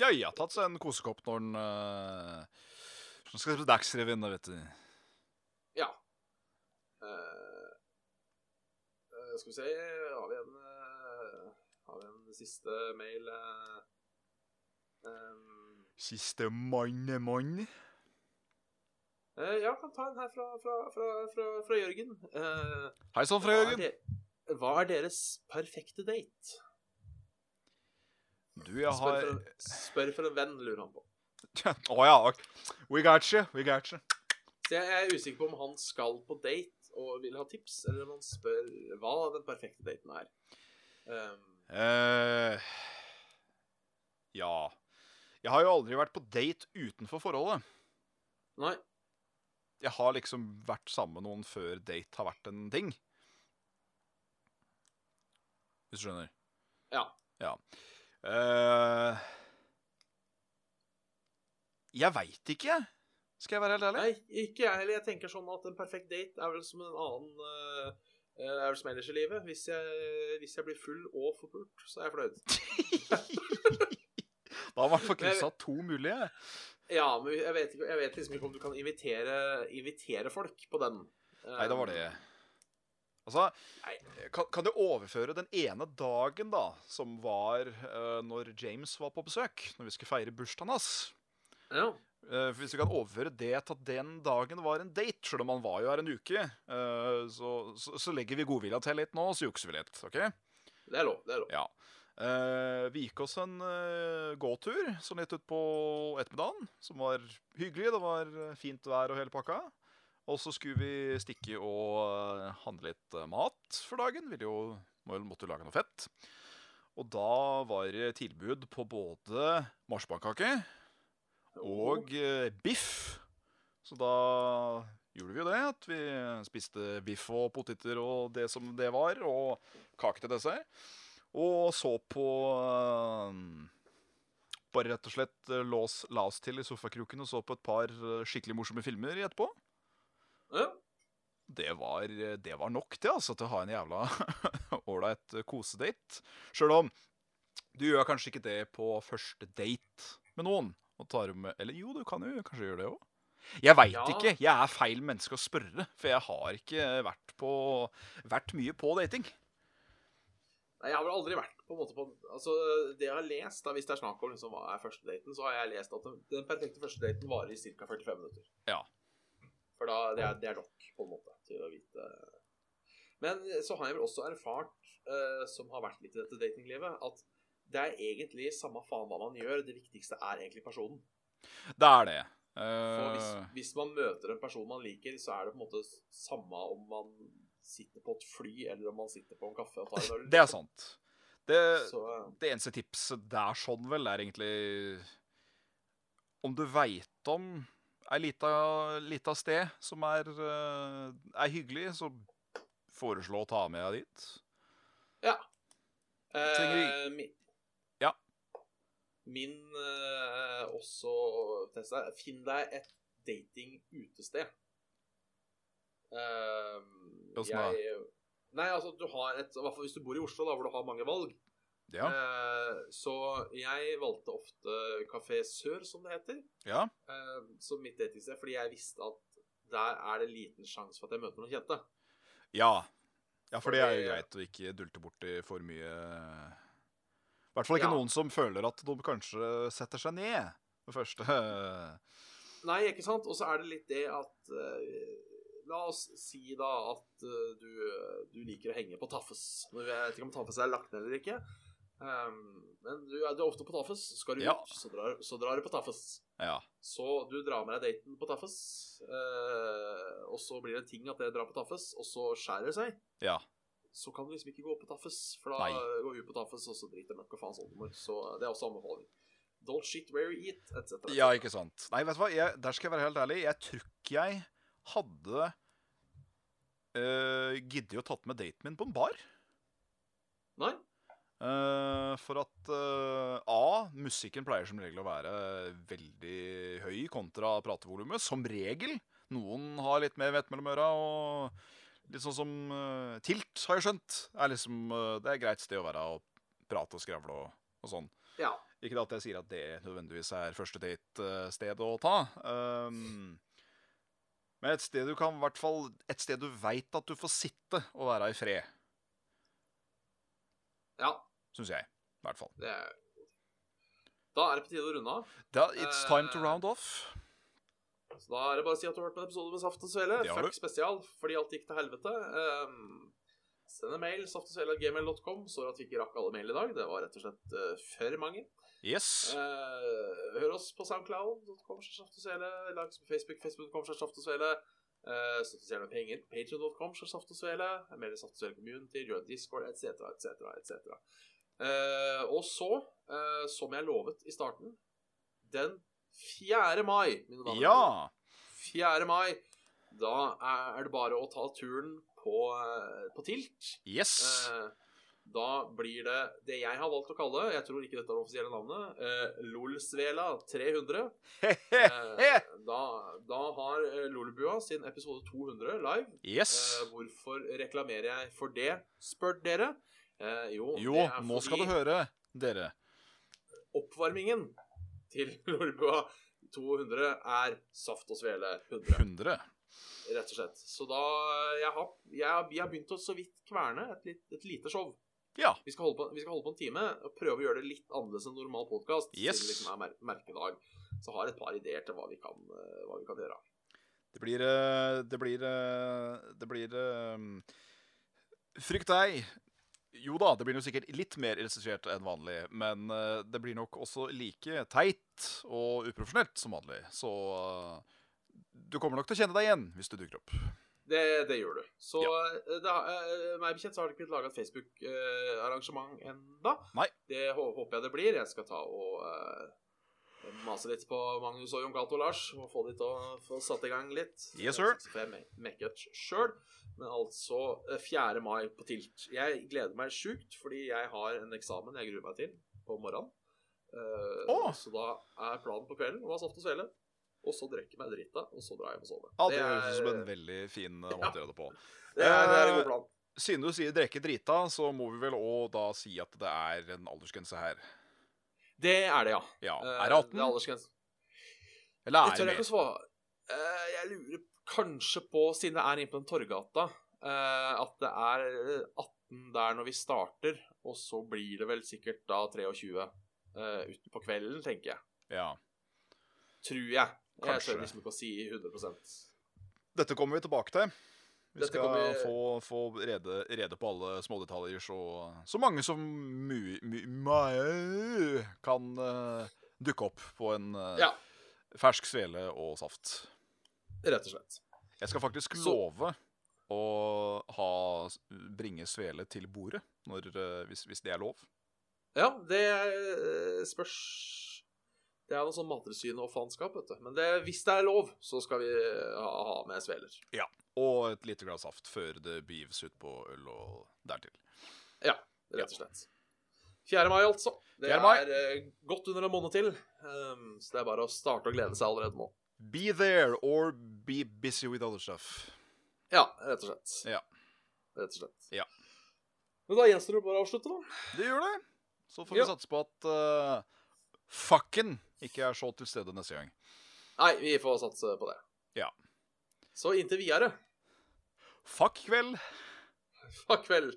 S2: Ja, jeg har tatt seg en kosekopp når den øh, Nå skal jeg se på Dagsrevyen, da, vet du.
S3: Ja. Eh, eh, skal vi se Har vi en, eh, har vi en siste mail eh? Ehm,
S2: Siste mann er mann.
S3: eh, Ja, kan ta en her fra, fra, fra, fra, fra Jørgen. Eh,
S2: Hei sann, fra
S3: Hva
S2: Jørgen.
S3: er, de, hva er deres perfekte date?
S2: Du, jeg
S3: Spør
S2: har
S3: for,
S2: [LAUGHS]
S3: en, spør for en venn, lurer han på.
S2: Å ja. ok. We got you. We got you.
S3: Så jeg er usikker på om han skal på date og vil ha tips, eller om han spør hva den perfekte daten er. Ehm,
S2: Eh, ja. Jeg har jo aldri vært på date utenfor forholdet.
S3: nei.
S2: Jeg har liksom vært sammen med noen før date har vært en ting. Hvis du skjønner.
S3: Ja.
S2: Eh, jeg veit ikke, jeg. Skal jeg være helt ærlig?
S3: Nei, ikke jeg heller. Jeg tenker sånn at en perfekt date er vel som en annen eh, eh, Er vel som ellers i livet. Hvis jeg, hvis jeg blir full og forpult, så er jeg fornøyd.
S2: Da har man fått
S3: Men jeg-
S2: kryssa to mulige.
S3: Ja, men jeg vet, ikke, jeg vet liksom ikke om du kan invitere, invitere folk på den. Eh,
S2: Nei, det var det. Altså,
S3: Nei.
S2: kan, kan du overføre den ene dagen, da, som var eh, når James var på besøk, når vi skulle feire bursdagen hans?
S3: Ja.
S2: Eh, hvis du kan overføre det til at den dagen var en date, selv om han var jo her en uke, eh, så, så, så legger vi godvilja til litt nå, og så jukser vi litt. ok?
S3: Det er lov. Det er lov.
S2: Ja. Eh, vi gikk oss en eh, gåtur sånn litt utpå ettermiddagen, som var hyggelig. Det var eh, fint vær og hele pakka. Og så skulle vi stikke og eh, handle litt eh, mat for dagen. Ville jo, må jo- måtte jo lage noe fett. Og da var det tilbud på både marsippankake og eh, biff. Så da gjorde vi jo det. At vi spiste biff og poteter og det som det var, og kake til dessert. Og så på eh, Bare rett og slett eh, la oss- la oss til i sofakroken og så på et par eh, skikkelig morsomme filmer etterpå.
S3: Ja.
S2: Det var, eh, det var nok det, altså, til å ha en jævla [LAUGHS] ålreit eh, kosedate. Sjøl om du gjør kanskje ikke det på første date med noen. Og tar med, eller jo, du kan jo kanskje gjøre det òg. Jeg veit
S3: Ja.
S2: ikke. Jeg er feil menneske å spørre. For jeg har ikke vært, på, vært mye på dating.
S3: Nei, jeg har vel aldri vært på en måte på Altså, det jeg har lest, da, hvis det er snakk om liksom, hva er første daten, så har jeg lest at den- den perfekte første daten varer i ca. 45 minutter.
S2: Ja.
S3: For da det er det er nok, på en måte, til å vite Men så har jeg vel også erfart, eh, som har vært litt i dette datinglivet, at det er egentlig samme faen hva man gjør, det viktigste er egentlig personen.
S2: Det er det.
S3: For hvis,
S2: Eh,
S3: hvis man møter en person man liker, så er det på en måte samme om man sitter på et fly, eller om man sitter på en kaffe og tar en øl.
S2: det er sant. Det,
S3: Så, eh,
S2: det eneste tipset der sånn vel, er egentlig Om du veit om ei lita, lita sted som er, eh, er hyggelig, så foreslå å ta med deg dit. Trenger
S3: Eh, min,
S2: Ja.
S3: Min eh, også Tessa, finn deg et dating-utested. Eh,
S2: Hvordan da?
S3: jeg- Nei, altså, du har et I hvert fall hvis du bor i Oslo, da, hvor du har mange valg.
S2: Ja.
S3: Eh, så jeg valgte ofte Kafé Sør, som det heter,
S2: ja.
S3: eh, som mitt datingsted, fordi jeg visste at der er det liten sjanse for at jeg møter noen kjente.
S2: Ja. ja, for det er jo
S3: Fordi-
S2: greit å ikke dulte borti for mye I hvert fall ikke
S3: Ja.
S2: noen som føler at de kanskje setter seg ned med første [LAUGHS]
S3: Nei, ikke sant? Og så er det litt det at eh, La oss si da at eh, du, du liker å henge på Taffes. Nå vet jeg ikke om Taffes er lagt ned eller ikke. Ehm, men du er, du er ofte på Taffes. Skal du
S2: Ja.
S3: ut, så drar, så drar du på Taffes.
S2: Ja.
S3: Så du drar med deg daten på Taffes, eh, og så blir det en ting at dere drar på Taffes, og så skjærer det seg.
S2: Ja.
S3: Så kan du liksom ikke gå på Taffes, for da
S2: Nei.
S3: går hun på Taffes, og så driter møkk og faens oldemor. Så det er også anbefaling. Don't shit where you eat, etc.
S2: Ja, ikke sant. Nei, vet du hva, jeg, der skal jeg være helt ærlig. Jeg tror ikke jeg hadde uh, giddet å tatt med daten min på en bar.
S3: Nei?
S2: Eh, for at eh, A, musikken pleier som regel å være veldig høy kontra pratevolumet. Som regel. Noen har litt mer vett mellom øra, og litt sånn som eh, Tilt, har jeg skjønt. Er liksom, eh, det er et greit sted å være og prate og skravle og, og sånn.
S3: Ja.
S2: Ikke at jeg sier at det nødvendigvis er første date-sted å ta. ehm, men et sted du kan i hvert fall Et sted du veit at du får sitte og være i fred,
S3: Ja,
S2: syns jeg. I hvert fall.
S3: Det er Da er det på tide å runde av.
S2: Da, it's time to
S3: Eh,
S2: round off.
S3: Så da er det bare å si at du har hørt på en episode med Saft og Svele.
S2: Det har
S3: Fuck spesial, fordi alt gikk til helvete. Ehm, send en mail, saftogsvele.gmail.com. Så at vi ikke rakk alle mail i dag. Det var rett og slett eh, for mange.
S2: Yes.
S3: Eh, hør oss på soundcloud.com. Saft og Svele. Lag oss på Facebook. Facebook.com. Saft og Svele. Uh, Støtt oss gjerne med penger. Patreon.com. Saft og Svele. Meld deg i Saft og Svele Community. Join Discord, etc., etc., etc. Eh, og så, eh, som jeg lovet i starten, den 4. mai, mine damer og herrer.
S2: Ja.
S3: 4. mai. Da er det bare å ta turen på, eh, på Tilt.
S2: Yes.
S3: Eh, da blir det det jeg har valgt å kalle, jeg tror ikke dette er det offisielle navnet, eh, Lolsvela 300. Eh, da, da har eh, Lolbua sin episode 200 live.
S2: Yes.
S3: Eh, hvorfor reklamerer jeg for det, spør dere? Eh, jo,
S2: Jo,
S3: det er
S2: nå skal
S3: fordi
S2: du høre, dere.
S3: oppvarmingen til [LAUGHS] Lolbua 200 er Saft og Svele 100,
S2: 100.
S3: rett og slett. Så da eh, jeg har, jeg, har- Vi har begynt å så vidt kverne et, lit- et lite show.
S2: Ja.
S3: Vi skal, holde på, vi skal holde på en time og prøve å gjøre det litt annerledes enn normal podkast.
S2: Yes.
S3: Siden det liksom er mer merkedag. Så har jeg et par ideer til hva vi kan, eh, hva vi kan gjøre.
S2: Det blir eh, Det blir eh, Det blir eh, Frykt deg. Jo da, det blir jo sikkert litt mer illustrert enn vanlig, men eh, det blir nok også like teit og uprofesjonelt som vanlig. Så eh, du kommer nok til å kjenne deg igjen hvis du dukker opp.
S3: det, det gjør du. Så
S2: Ja.
S3: eh, det, har- eh, meg bekjent så har det ikke blitt laga et Facebook-arrangement enda.
S2: Nei.
S3: Det hå- håper jeg det blir. Jeg skal ta og eh, mase litt på Magnus og Jon Cato og Lars og få de til å få satt i gang litt.
S2: Yes, sir.
S3: Så får jeg me- mekke et sjøl. Men altså eh, 4. mai på Tilt. Jeg gleder meg sjukt, fordi jeg har en eksamen jeg gruer meg til på morgenen. Eh,
S2: Åh.
S3: Så da er planen på kvelden å ha saft og svele. Og så drikke meg drita, og så dra hjem og sove.
S2: Ja, Ah, det
S3: Det
S2: høres ut som
S3: er-
S2: en veldig fin eh, måte å gjøre det på.
S3: det er, det er en god plan.
S2: Siden du sier drikke drita, så må vi vel òg da si at det er en aldersgrense her.
S3: Det er det, ja.
S2: Ja,
S3: Eh,
S2: Er det 18?
S3: Det er aldersgrense.
S2: Eller
S3: Jeg
S2: er
S3: tør
S2: det
S3: ikke
S2: mer?
S3: å svare. Eh, Jeg lurer kanskje på, siden det er inne på den Torgata, eh, at det er eh, 18 der når vi starter, og så blir det vel sikkert da 23 eh, utpå kvelden, tenker jeg.
S2: Ja.
S3: Tror jeg. Jeg
S2: Kanskje.
S3: tør liksom ikke å si 100
S2: Dette kommer vi tilbake til. Vi
S3: Dette
S2: skal
S3: kommer-
S2: få, få rede, rede på alle smådetaljer, så, så mange som mu, mu, mai- kan eh, dukke opp på en eh,
S3: Ja.
S2: fersk svele og saft.
S3: Rett og slett.
S2: Jeg skal faktisk
S3: Så-
S2: love å ha, bringe svele til bordet, når, eh, hvis, hvis det er lov.
S3: Ja, det eh, spørs Det er noe sånn Mattilsynet og faenskap, vet du. Men det, hvis det er lov, så skal vi ha, ha med sveler.
S2: Og et lite glass saft før det begives ut på øl og dertil.
S3: rett og slett. 4. mai, altså. Det
S2: 4. mai.
S3: er eh, godt under en måned til. Um, så det er bare å starte å glede seg allerede nå.
S2: Be there or be busy with other stuff.
S3: Ja, rett og slett.
S2: Ja.
S3: Rett og slett.
S2: Ja.
S3: Men da gjenstår det bare å avslutte, da.
S2: Det gjør det. Så får
S3: Ja.
S2: vi satse på at eh, fucken ikke er så til stede neste gang.
S3: Nei, vi får satse på det.
S2: Ja.
S3: Så inntil videre.
S2: Fuck vel.
S3: [LAUGHS] Fuck vel.